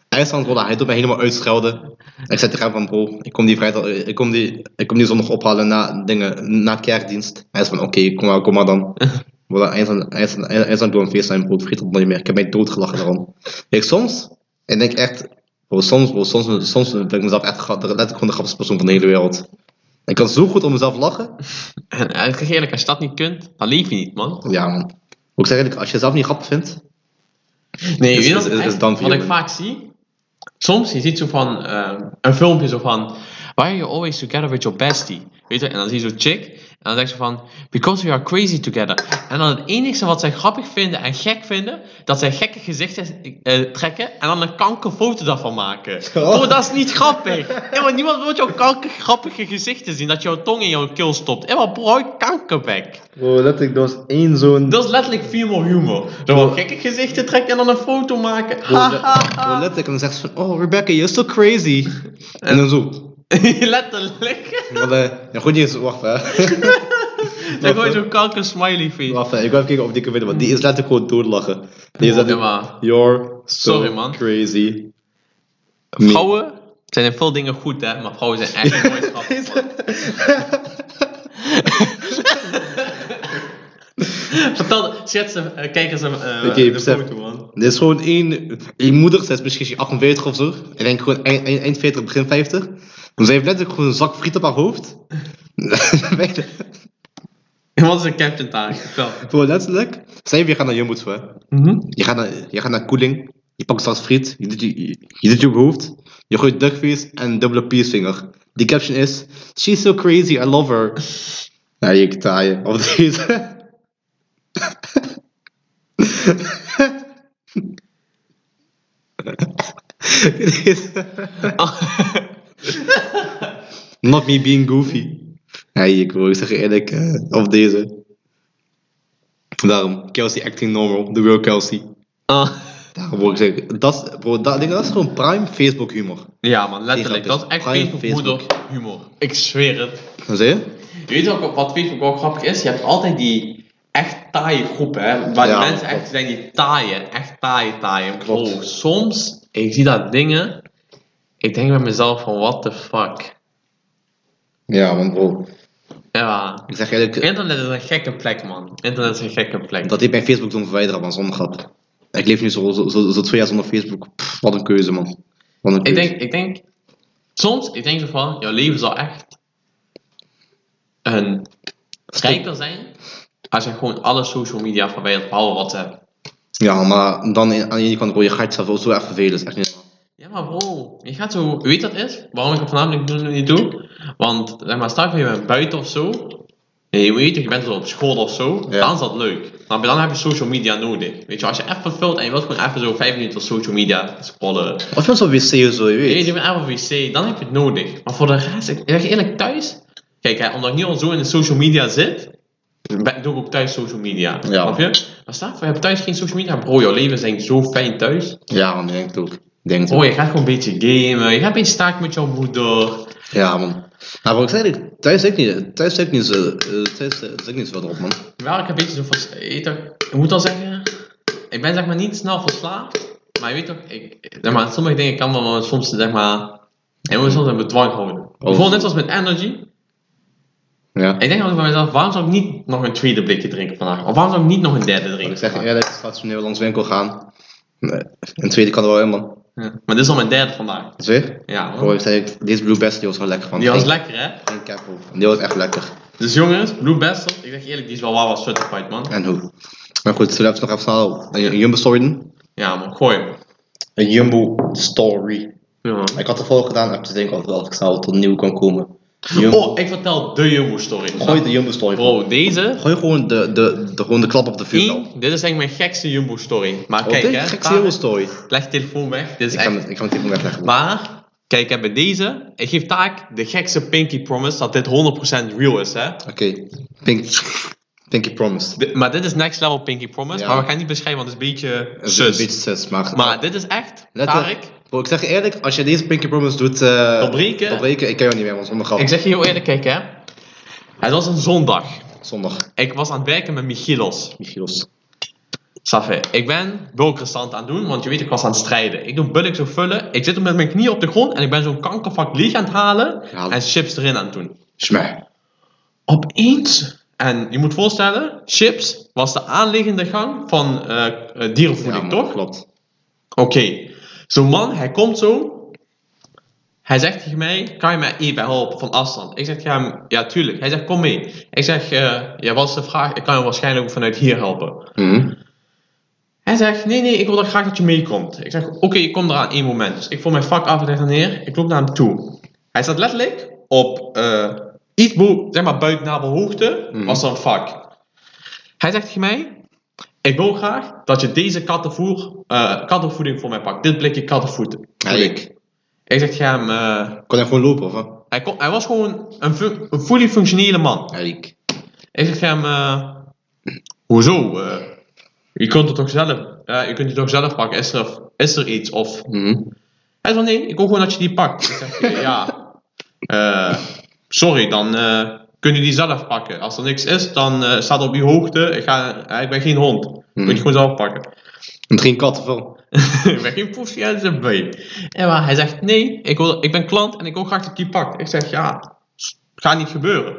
Speaker 1: IJsland, bro, hij doet mij helemaal uitschelden. Ik zei tegen hem van bro, ik kom die vrijdag, eh, ik kom die, ik kom die zondag ophalen na dingen, na kerkdienst. Hij is van oké, kom maar, kom maar dan. Voilà, IJsland, IJsland, IJsland doet een feest zijn bro, ik vergeet dat nooit meer. Ik heb mij doodgelachen daarom. Ik soms, ik denk echt, bro, soms bro, soms, soms ben ik mezelf echt, gra- letterlijk gewoon de grappigste persoon van de hele wereld. Ik kan zo goed om mezelf lachen.
Speaker 2: En eigenlijk, eerlijk, als je dat niet kunt, dan leef je niet, man.
Speaker 1: Ja man. Ook zeg eigenlijk, als je jezelf niet grappig vindt,
Speaker 2: Nee,
Speaker 1: Is-
Speaker 2: weet je wat
Speaker 1: is- is-
Speaker 2: echt-
Speaker 1: is dan
Speaker 2: Wat ik
Speaker 1: violent.
Speaker 2: vaak zie, soms, je ziet zo van, ehm, een filmpje zo van, why are you always together with your bestie? Weet je, en dan zie je zo'n chick, en dan zegt ze van, because we are crazy together. En dan het enige wat zij grappig vinden en gek vinden, dat zij gekke gezichten eh, trekken, en dan een kankerfoto daarvan maken.
Speaker 1: Oh.
Speaker 2: Oh, dat is niet grappig. Ja, maar niemand wil jouw kanker grappige gezichten zien, dat jouw tong in jouw keel stopt. Ja, maar bro, kankerbek.
Speaker 1: bro, letterlijk, er was één zo'n
Speaker 2: Dat is letterlijk female humor. Zo wel gekke gezichten trekken en dan een foto maken.
Speaker 1: Gewoon
Speaker 2: Ha,
Speaker 1: le-
Speaker 2: ha,
Speaker 1: gewoon
Speaker 2: ha.
Speaker 1: letterlijk en dan zegt ze van, oh Rebecca, you're so crazy. En dan zo.
Speaker 2: Letterlijk.
Speaker 1: Maar eh, ja, goed nieuws, wacht hè.
Speaker 2: Dan gooi je zo'n kanker smiley face.
Speaker 1: wacht hè, ik wil even kijken of ik die kan winnen, want die is letterlijk gewoon doodlachen. Die is
Speaker 2: Ja,
Speaker 1: letterlijk,
Speaker 2: maar
Speaker 1: you're so
Speaker 2: Sorry, man.
Speaker 1: crazy.
Speaker 2: Vrouwen zijn in veel dingen goed, hè. Maar vrouwen zijn echt nooit grappig, man. Vertel, schets de eh, kijkers een eh,
Speaker 1: Oké,
Speaker 2: de
Speaker 1: besef.
Speaker 2: foto, man.
Speaker 1: Dit is gewoon één, één moeder, zij is misschien 48 of zo. Ik denk gewoon eind, eind, eind 40, begin 50. Maar zij heeft letterlijk gewoon een zak friet op haar hoofd.
Speaker 2: Wat is een captain taak? Vertel.
Speaker 1: Gewoon letterlijk. Zij weer gaan naar Jumbo toe, hè. Je gaat naar, je gaat naar koeling, je pakt straks friet, je doet je, je, je doet je op hoofd, je gooit duckface en een dubbele piercinger. Die caption is: She's so crazy, I love her. Nou, je taaien. Of deze. Deze. Not me being goofy. Nee, ik wil zeggen eerlijk, eh, of deze. Daarom, Kelsey acting normal, the real Kelsey.
Speaker 2: Ah.
Speaker 1: Daarom wil ik zeggen, dat, is- bro, dat, ik denk, dat is gewoon prime Facebook humor.
Speaker 2: Ja, man, letterlijk.
Speaker 1: Grappig.
Speaker 2: Dat is echt
Speaker 1: Prime
Speaker 2: Facebook-moeder humor. Ik zweer het.
Speaker 1: Dan zie je?
Speaker 2: Je weet ook wat Facebook ook grappig is? Je hebt altijd die echt taaie groepen, hè, waar
Speaker 1: Ja,
Speaker 2: die mensen
Speaker 1: klopt.
Speaker 2: echt zijn die taaien, echt taaie taaien. Bro,
Speaker 1: Klopt.
Speaker 2: soms, ik zie dat dingen, ik denk bij mezelf van what the fuck.
Speaker 1: Ja, want bro,
Speaker 2: Ja,
Speaker 1: ik zeg eerlijk,
Speaker 2: internet is een gekke plek man. Internet is een gekke plek.
Speaker 1: dat ik mijn Facebook toen verwijderen man, zonder grap. Ik leef nu zo, zo, zo, zo twee jaar zonder Facebook. Pff, wat een keuze, man. Wat een
Speaker 2: ik
Speaker 1: keuze.
Speaker 2: denk, ik denk, soms, ik denk zo van, jouw leven zal echt een rijker zijn als je gewoon alle social media verwijdert, behalve WhatsApp.
Speaker 1: Ja, maar dan in- aan de ene kant, bro, je gaat jezelf ook zo erg vervelen. is echt niet normaal.
Speaker 2: Ja, maar bro, je gaat zo, weet dat is? Waarom ik het voornamelijk nu niet doe? Want, zeg maar, stel ik je bent buiten of zo. Nee, je weet toch, je bent zo op school of zo.
Speaker 1: Ja.
Speaker 2: Dan is dat leuk. Maar dan heb je social media nodig. Weet je, als je echt vervult en je wilt gewoon even zo vijf minuten op social media scrollen.
Speaker 1: Of je bent zo'n wc of zo, je
Speaker 2: Weet je, je
Speaker 1: weet.
Speaker 2: bent even op wc, dan heb je het nodig. Maar voor de rest, ik ik zeg je eerlijk, thuis. Kijk, hè, omdat ik nu al zo in de social media zit, ben- doe ik ook thuis social media.
Speaker 1: Ja.
Speaker 2: Snap je? Maar stel, je voor, je hebt thuis geen social media. Bro, jouw leven zijn zo fijn thuis.
Speaker 1: Ja, man, ik denk het ook. Ik Denk het ook.
Speaker 2: Oh, je gaat gewoon een beetje gamen. Je gaat een beetje staak met jouw moeder.
Speaker 1: Ja, man. Nou, bro, ik zeg eerlijk, thuis zit ik niet, thuis zit ik niet zo, eh, thuis eh, zit ik niet zo wat op, man.
Speaker 2: Wel, ik heb een beetje zo vers- je weet toch- Ik moet al zeggen, ik ben zeg maar niet snel verslaafd. Maar je weet toch, ik, ik- zeg maar, sommige dingen kan wel soms zeg maar. En moet je soms in bedwang houden. Bijvoorbeeld net als met energy.
Speaker 1: Ja.
Speaker 2: Ik denk altijd bij mezelf, waarom zou ik niet nog een tweede blikje drinken vandaag? Of waarom zou ik niet nog een derde
Speaker 1: Ik
Speaker 2: drinken?
Speaker 1: zeg
Speaker 2: vandaag?
Speaker 1: eerlijk, stationeel langs winkel gaan. Nee. Een tweede kan er wel in, man.
Speaker 2: Ja. Maar dit is al mijn derde vandaag.
Speaker 1: Zeker?
Speaker 2: Ja,
Speaker 1: Bro,
Speaker 2: hoor.
Speaker 1: ik zeg, eerlijk, deze Blue Best, die was wel lekker, man.
Speaker 2: Die was
Speaker 1: Geen-
Speaker 2: lekker, hè?
Speaker 1: Geen cap, bro. Die was echt lekker.
Speaker 2: Dus jongens, Blue Bastard, ik zeg je eerlijk, die is wel waar was certified, man.
Speaker 1: En hoe? Maar goed, zullen we even nog even snel een Jumbo sorten?
Speaker 2: Ja, man, gooi hem.
Speaker 4: Een Jumbo story.
Speaker 2: Ja.
Speaker 4: Ik had ervoor gedaan, heb te denken of of ik snel tot nieuw kan komen. Jumbo,
Speaker 2: Oh, ik vertel de Jumbo-story.
Speaker 4: gooi de Jumbo story.
Speaker 2: Bro, deze
Speaker 4: Oh. Gooi gewoon de, de, de, gewoon de klap op de vuurpijl.
Speaker 2: Eén, dit is denk ik mijn gekste Jumbo-story. Maar
Speaker 4: Oh,
Speaker 2: kijk,
Speaker 4: dit
Speaker 2: hè.
Speaker 4: is gekste
Speaker 2: Tarek,
Speaker 4: Jumbo story.
Speaker 2: Leg telefoon weg. Dit is
Speaker 4: Ik
Speaker 2: echt...
Speaker 4: ga hem- ik ga hem even wegleggen.
Speaker 2: Maar, kijk, hè, bij deze... Ik geef taak de gekste Pinky Promise dat dit 100% real is, hè.
Speaker 4: Oké, Pink, Pinky Promised.
Speaker 2: Di- maar dit is next level Pinky Promise.
Speaker 4: Ja.
Speaker 2: Maar we gaan niet beschrijven, want het is een beetje
Speaker 4: Het is
Speaker 2: zus.
Speaker 4: Een beetje zus, maar...
Speaker 2: Maar dit is echt,
Speaker 4: Let wel-
Speaker 2: Tarek...
Speaker 4: Bro, ik zeg je eerlijk, als je deze Pinky Promise doet... eh
Speaker 2: Doorbreken?
Speaker 4: doorbreken, ik kan jou niet meer, want zonder grap.
Speaker 2: Ik zeg je heel eerlijk, kijk hè. Het was een zondag.
Speaker 4: Zondag,
Speaker 2: Ik was aan het werken met Michilos.
Speaker 4: Michiels.
Speaker 2: Saffe, ik ben bulkrestant aan het doen, want je weet, ik was aan het strijden. Ik doe bulk zo vullen. Ik zit met mijn knie op de grond en ik ben zo'n kankervak leeg aan het halen.
Speaker 4: Ja.
Speaker 2: En chips erin aan het doen.
Speaker 4: Schmeh.
Speaker 2: Opeens. En je moet voorstellen, chips was de aanliggende gang van eh eh, dierenvoeding,
Speaker 4: man,
Speaker 2: toch?
Speaker 4: Klopt.
Speaker 2: Oké. Zo'n man, hij komt zo. Hij zegt tegen mij, kan je mij even helpen van afstand? Ik zeg tegen hem, ja tuurlijk. Hij zegt, kom mee. Ik zeg, eh, ja wat is de vraag? Ik kan je waarschijnlijk ook vanuit hier helpen.
Speaker 4: Mhm.
Speaker 2: Hij zegt, nee nee, ik wil dan graag dat je meekomt. Ik zeg, oké, ik kom eraan, één moment. Dus ik voel mijn vak af, ik leg er neer, ik loop naar hem toe. Hij staat letterlijk op eh, iets bo- zeg maar buiten nabelhoogte,
Speaker 4: Mhm.
Speaker 2: was er een vak. Hij zegt tegen mij, ik wil graag dat je deze kattenvoer, eh, kattenvoeding voor mij pakt. Dit blikje kattenvoeding.
Speaker 4: Ja, ik.
Speaker 2: Ik zeg tegen hem, eh,
Speaker 4: Kon hij gewoon lopen, of wat?
Speaker 2: hij, kon- hij was gewoon een, fu- een fully functionele man.
Speaker 4: Ja, ik.
Speaker 2: Ik zeg tegen hem, eh, hoezo? eh, je kunt het toch zelf, eh, je kunt het toch zelf pakken, is er, is er iets? Of...
Speaker 4: Mhm.
Speaker 2: Hij zegt, nee, ik wil gewoon dat je die pakt. Ik zeg, eh, ja, eh, sorry, dan eh, kun je die zelf pakken. Als er niks is, dan eh, staat op je hoogte, ik, ga, eh, ik ben geen hond. Kun je het gewoon zelf pakken.
Speaker 4: Het ging kattenvel.
Speaker 2: ik ben geen poefje uit zijn been. En maar hij zegt, nee, ik, wil, ik ben klant en ik wil graag dat je die pakt. Ik zeg, ja, s- gaat niet gebeuren.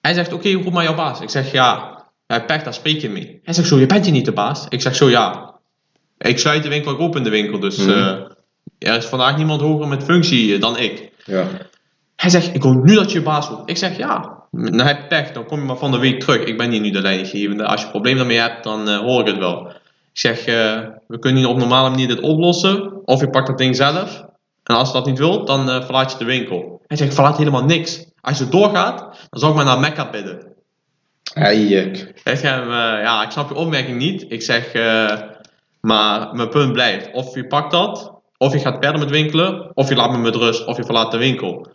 Speaker 2: Hij zegt, oké, roep maar jouw baas. Ik zeg, ja, hij pech, daar spreek je mee. Hij zegt zo, je bent hier niet de baas. Ik zeg zo, ja, ik sluit de winkel, ik open de winkel. Dus
Speaker 4: Mhm.
Speaker 2: eh, er is vandaag niemand hoger met functie eh, dan ik.
Speaker 4: Ja.
Speaker 2: Hij zegt, ik wil nu dat je je baas wordt. Ik zeg, ja, dan heb je pech, dan kom je maar van de week terug. Ik ben hier nu de leidinggevende. Als je problemen daarmee hebt, dan eh, hoor ik het wel. Ik zeg, eh, we kunnen hier op normale manier dit oplossen. Of je pakt dat ding zelf. En als je dat niet wilt, dan eh, verlaat je de winkel. Hij zegt, ik verlaat helemaal niks. Als je doorgaat, dan zal ik maar naar Mecca bidden.
Speaker 4: Ja, ik.
Speaker 2: Ik zeg, eh, ja, ik snap je opmerking niet. Ik zeg, eh, maar mijn punt blijft. Of je pakt dat, of je gaat verder met winkelen, of je laat me met rust, of je verlaat de winkel.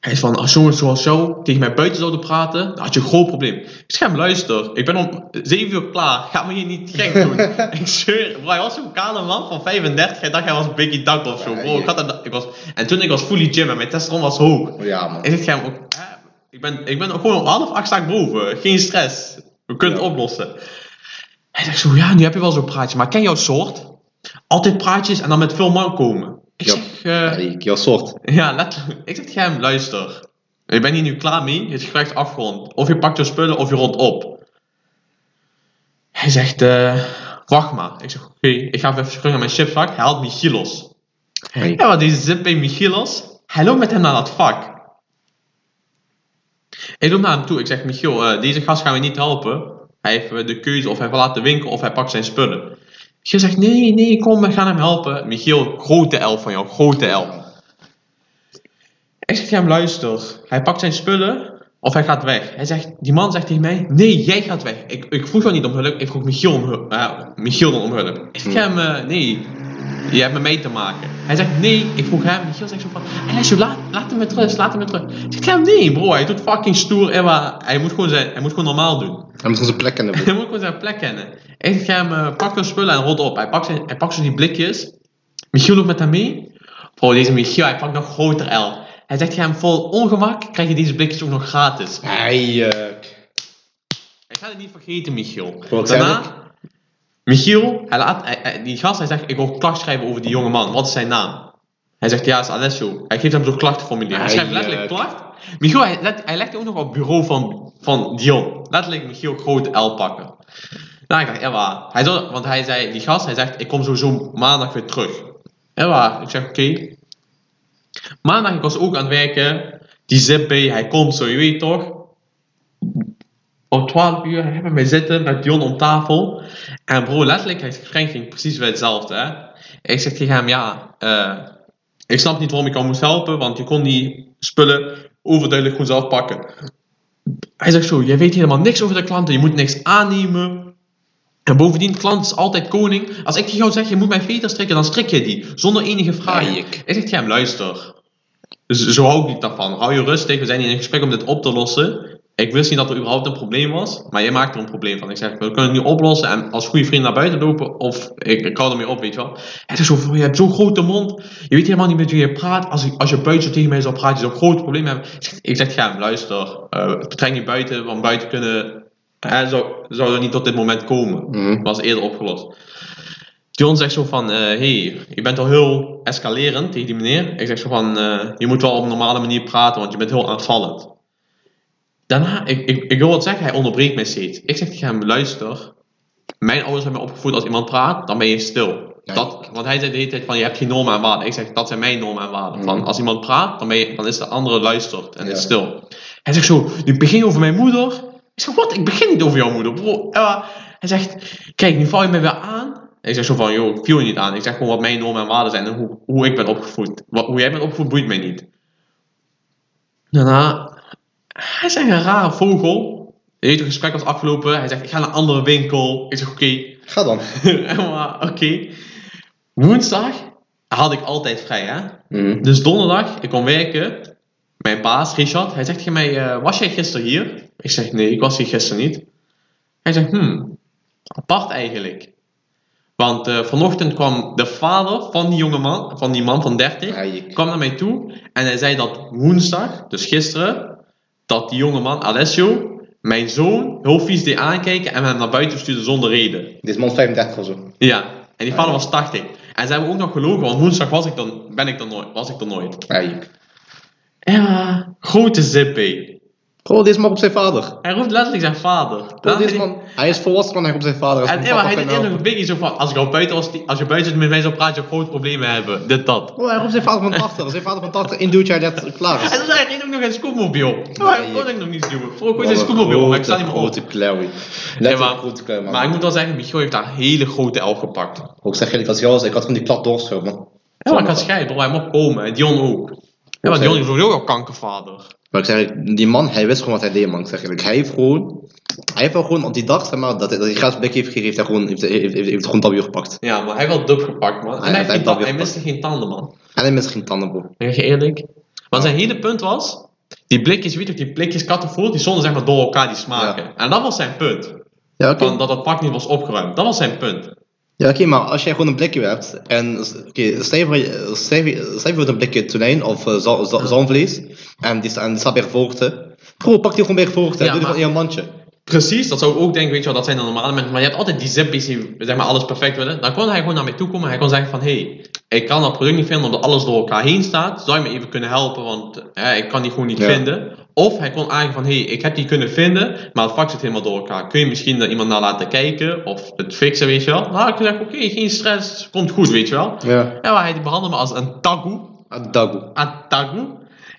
Speaker 2: Hij is van, als jongens zoals jou tegen mij buiten zouden praten, dan had je een groot probleem. Ik zeg hem, luister, ik ben om 7 uur klaar, ga me hier niet gek doen. ik zweer, bro, hij was zo'n kale man van 35, hij dacht hij was Biggie Duck of zo. Bro, ik had dat, ik was, en toen ik was fully gym en mijn testosteron was hoog.
Speaker 1: Oh,
Speaker 4: Ja, man.
Speaker 2: Ik zeg tegen hem ook, hè, ik ben, ik ben gewoon om half acht sta ik boven, geen stress. We kunnen het
Speaker 4: Ja.
Speaker 2: oplossen. Hij zegt zo, ja, nu heb je wel zo'n praatje, maar ken jouw soort? Altijd praatjes en dan met veel man komen. Ik
Speaker 4: Ja.
Speaker 2: zeg,
Speaker 4: Ja,
Speaker 2: eh,
Speaker 4: ik. Jouw soort.
Speaker 2: ja, letterlijk. Ik zeg tegen hem, luister. Ik ben hier nu klaar mee. Het gesprek is afgerond. Of je pakt je spullen of je rond op. Hij zegt, eh, wacht maar. Ik zeg, oké, ik ga even terug naar mijn chipsvak. Hij haalt Michilos.
Speaker 4: Hey.
Speaker 2: Ja, want die zit bij Michilos. Hij loopt met hem naar dat vak. Ik loop naar hem toe. Ik zeg, Michiel, eh, deze gast gaan we niet helpen. Hij heeft eh, de keuze of hij verlaat de winkel of hij pakt zijn spullen. Michiel zegt, nee, nee, kom, we gaan hem helpen. Michiel, grote L van jou, grote L. Ik zeg tegen hem, luister. Hij pakt zijn spullen of hij gaat weg. Hij zegt, die man zegt tegen mij, nee, jij gaat weg. Ik, ik vroeg jou niet om hulp, ik vroeg Michiel, om hulp, eh, Michiel dan om hulp. Ik zeg tegen hem, eh, nee, je hebt me mee te maken. Hij zegt, nee, ik vroeg hem. Michiel zegt zo van, hey, luister, laat, laat hem met rust, laat hem met rust. Ik zeg tegen hem, nee bro, hij doet fucking stoer, Emma. Hij moet gewoon, zijn, hij moet gewoon normaal doen.
Speaker 4: Hij moet gewoon zijn plek kennen,
Speaker 2: Hij
Speaker 4: bro.
Speaker 2: moet gewoon zijn plek kennen. Ik zeg hem, eh, pak de spullen en rot op. Hij pakt, zijn, hij pakt zo die blikjes. Michiel loopt met hem mee. Bro, deze Michiel, hij pakt nog groter L. Hij zegt tegen hem, vol ongemak krijg je deze blikjes ook nog gratis.
Speaker 4: Eik.
Speaker 2: Ik ga het niet vergeten, Michiel.
Speaker 4: Wat zei
Speaker 2: Daarna, Michiel, hij laat, hij- hij- die gast, hij zegt, ik wil klacht schrijven over die jonge man. Wat is zijn naam? Hij zegt, ja, het is Alessio. Hij geeft hem zo'n klachtenformulier. Hij
Speaker 4: Ai,
Speaker 2: schrijft letterlijk
Speaker 4: eh,
Speaker 2: klacht. Michiel, hij, let, hij legt ook nog op het bureau van, van Dion. Letterlijk Michiel grote L pakken. Nou, ik dacht, ja, waar. Hij zou- want hij zei, die gast, hij zegt, ik kom sowieso maandag weer terug. Ja, waar. Ik zeg, oké. Maandag, ik was ook aan het werken. Die zip bij, hij komt zo, je weet toch. om 12 uur hebben wij zitten met Dion om tafel. En bro, letterlijk, hij Frank ging precies bij hetzelfde. Hè? Ik zeg tegen hem, ja, eh, ik snap niet waarom ik jou moest helpen, want je kon die spullen overduidelijk goed zelf pakken. Hij zegt zo, jij weet helemaal niks over de klanten, je moet niks aannemen. En bovendien, klant is altijd koning. Als ik tegen jou zeg, je moet mijn veter strikken, dan strik je die. Zonder enige vraag.
Speaker 1: Eik.
Speaker 2: Ik zeg tegen hem, luister. Z- Zo hou ik niet daarvan. Hou je rustig, we zijn in een gesprek om dit op te lossen. Ik wist niet dat er überhaupt een probleem was, maar jij maakt er een probleem van. Ik zeg, we kunnen het nu oplossen en als goede vriend naar buiten lopen of ik, ik hou ermee op, weet je wel. Hij zegt zo, "Bro, je hebt zo'n grote mond, je weet helemaal niet met wie je praat. Als, ik- als je buiten zo tegen mij zou praten, je zou een groot probleem hebben. Ik zeg- Ik zeg, ga hem, luister, eh betrek niet buiten, want buiten kunnen, hè, zou, zou er niet tot dit moment komen.
Speaker 1: Mhm.
Speaker 2: Was eerder opgelost. John zegt zo van, eh hey, je bent al heel escalerend tegen die meneer. Ik zeg zo van, eh, je moet wel op een normale manier praten, want je bent heel aanvallend. Daarna, ik, ik, ik wil wat zeggen, hij onderbreekt mij steeds. Ik zeg tegen hem, luister, mijn ouders hebben me opgevoed als iemand praat, dan ben je stil.
Speaker 1: Ja.
Speaker 2: Dat, want hij zei de hele tijd van, je hebt geen normen en waarden. Ik zeg, dat zijn mijn normen en waarden. Van,
Speaker 1: Mhm.
Speaker 2: als iemand praat, dan, ben je, dan is de andere luistert en
Speaker 1: Ja.
Speaker 2: is stil. Hij zegt zo, nu begin je over mijn moeder. Ik zeg, wat? Ik begin niet over jouw moeder, bro. Eh, hij zegt, kijk, nu val je mij weer aan. Ik zeg zo van, joh, ik viel je niet aan. Ik zeg gewoon wat mijn normen en waarden zijn en hoe, hoe ik ben opgevoed. Wat, hoe jij bent opgevoed, boeit mij niet. Daarna, hij is echt een rare vogel. Je weet, Het gesprek was afgelopen. Hij zegt, ik ga naar een andere winkel. Ik zeg, oké.
Speaker 1: Ga dan.
Speaker 2: maar oké. Woensdag had ik altijd vrij, hè.
Speaker 1: Mhm.
Speaker 2: Dus donderdag, ik kon werken. Mijn baas, Richard, hij zegt tegen mij, eh, was jij gisteren hier? Ik zeg, nee, ik was hier gisteren niet. Hij zegt, hmm, apart eigenlijk. Want eh, vanochtend kwam de vader van die jonge man, van die man van 30,
Speaker 1: Eik.
Speaker 2: kwam naar mij toe en hij zei dat woensdag, dus gisteren, dat die jonge man, Alessio, mijn zoon heel vies deed aankijken en hem naar buiten stuurde zonder reden.
Speaker 1: Dit is man 35 of zo.
Speaker 2: Ja, en die vader was 80. En ze hebben ook nog gelogen, want woensdag was ik dan, ben ik dan nooit, was ik dan nooit.
Speaker 1: Eik.
Speaker 2: Ja, grote zippy.
Speaker 1: Bro, dit is man op zijn vader.
Speaker 2: Hij roept letterlijk zijn vader.
Speaker 1: Bro, dit is
Speaker 2: En-
Speaker 1: man... Hij is volwassen man, hij op zijn vader. Hij
Speaker 2: En
Speaker 1: is
Speaker 2: ja,
Speaker 1: van
Speaker 2: maar
Speaker 1: papa,
Speaker 2: hij
Speaker 1: kan
Speaker 2: deed
Speaker 1: je
Speaker 2: eerder
Speaker 1: helpen.
Speaker 2: een beetje zo van, als ik al buiten, was, die- als je buiten met mij zou praten, zou ik grote problemen hebben. Dit, dat.
Speaker 1: Bro, hij roept zijn vader van 80. Zijn vader van 80 induwt jij dat klaar is.
Speaker 2: En dan reed ook nog in een scootmobiel. Maar ik kon ik nog niet duwen. Vroeger kon je in een scootmobiel, maar ik sta niet meer op.
Speaker 1: Grote klauwie.
Speaker 2: Nee,
Speaker 1: Letterlijk
Speaker 2: maar-
Speaker 1: grote klauw, man.
Speaker 2: Maar ik moet wel zeggen, Michiel heeft daar een hele grote L gepakt.
Speaker 1: Ik zeg eerlijk, als ik jou was, ik had van die plat doorschuil, man.
Speaker 2: Ja, maar ik had scheid, bro. Hij mocht komen. En Dion ook. Ja, maar Dion is ook al kankervader.
Speaker 1: Maar ik zeg eerlijk, die man, hij wist gewoon wat hij deed, man. Ik zeg eerlijk, hij heeft gewoon... Hij heeft wel gewoon op die dag, zeg maar, dat, dat hij gratis blik heeft gegeven, heeft hij gewoon, heeft, heeft, heeft, heeft gewoon W gepakt.
Speaker 2: Ja, maar hij heeft wel dub gepakt, man. En
Speaker 1: Hij heeft
Speaker 2: hij, heeft geen
Speaker 1: echt
Speaker 2: ta-
Speaker 1: wel
Speaker 2: hij
Speaker 1: weer
Speaker 2: miste geen tanden, man.
Speaker 1: En hij mist geen tanden, bro.
Speaker 2: Zeg je eerlijk? Want zijn hele punt was... Die blikjes, weet je ook, die blikjes kattenvoer, die stonden zeg maar door elkaar, die smaken. En dat was zijn punt.
Speaker 1: Ja, oké.
Speaker 2: Van dat dat pak niet was opgeruimd. Dat was zijn punt.
Speaker 1: Ja, oké, maar als jij gewoon een blikje hebt en s- oké, stel je voor je- stel je- stel je voor een blikje tonijn of eh, za- za- zalmvlees en die, sta- en die staat bij gevochten. Bro, pak die gewoon bij gevochten
Speaker 2: Ja,
Speaker 1: en doe die gewoon
Speaker 2: maar-
Speaker 1: in je mandje.
Speaker 2: Precies, dat zou ik ook denken, weet je wel, dat zijn de normale mensen. Maar je hebt altijd die zippies die zeg maar, alles perfect willen. Dan kon hij gewoon naar mij toe komen en hij kon zeggen van... hey, ik kan dat product niet vinden omdat alles door elkaar heen staat. Zou je me even kunnen helpen, want hè, ik kan die gewoon niet
Speaker 1: Ja.
Speaker 2: vinden. Of hij kon aangeven van... hey, ik heb die kunnen vinden, maar het vak zit helemaal door elkaar. Kun je misschien daar iemand naar laten kijken of het fixen, weet je wel. Nou, ik zeg oké, geen stress, komt goed, weet je wel.
Speaker 1: Ja.
Speaker 2: En maar hij behandelde me als een tagoe.
Speaker 1: Dagoe.
Speaker 2: Een tagoe.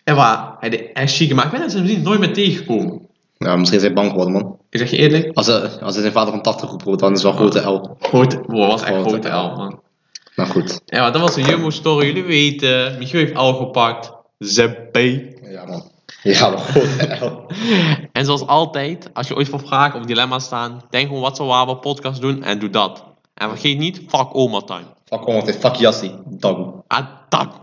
Speaker 2: En waar hij de echt chique maakt. Ik ben er sindsdien nooit meer tegengekomen.
Speaker 1: Ja, misschien is hij bang geworden, man.
Speaker 2: Ik zeg je eerlijk...
Speaker 1: Als hij, als hij zijn vader van 80 roept, bro, dan is het wel een grote L.
Speaker 2: Grote, wow, was echt
Speaker 1: Grote
Speaker 2: grote
Speaker 1: L.
Speaker 2: L, man.
Speaker 1: Nou goed.
Speaker 2: Ja, maar dat was een Jumbo-story, jullie weten. Michiel heeft L gepakt. ZB.
Speaker 1: Ja, man. Ja, man, grote L.
Speaker 2: En zoals altijd, als je ooit voor vragen of dilemma's staan, denk gewoon wat zou Waber podcast doen en doe dat. En vergeet niet, fuck oma time.
Speaker 1: Fuck, gewoon, fuck Jassie. Dagoe.
Speaker 2: Attack!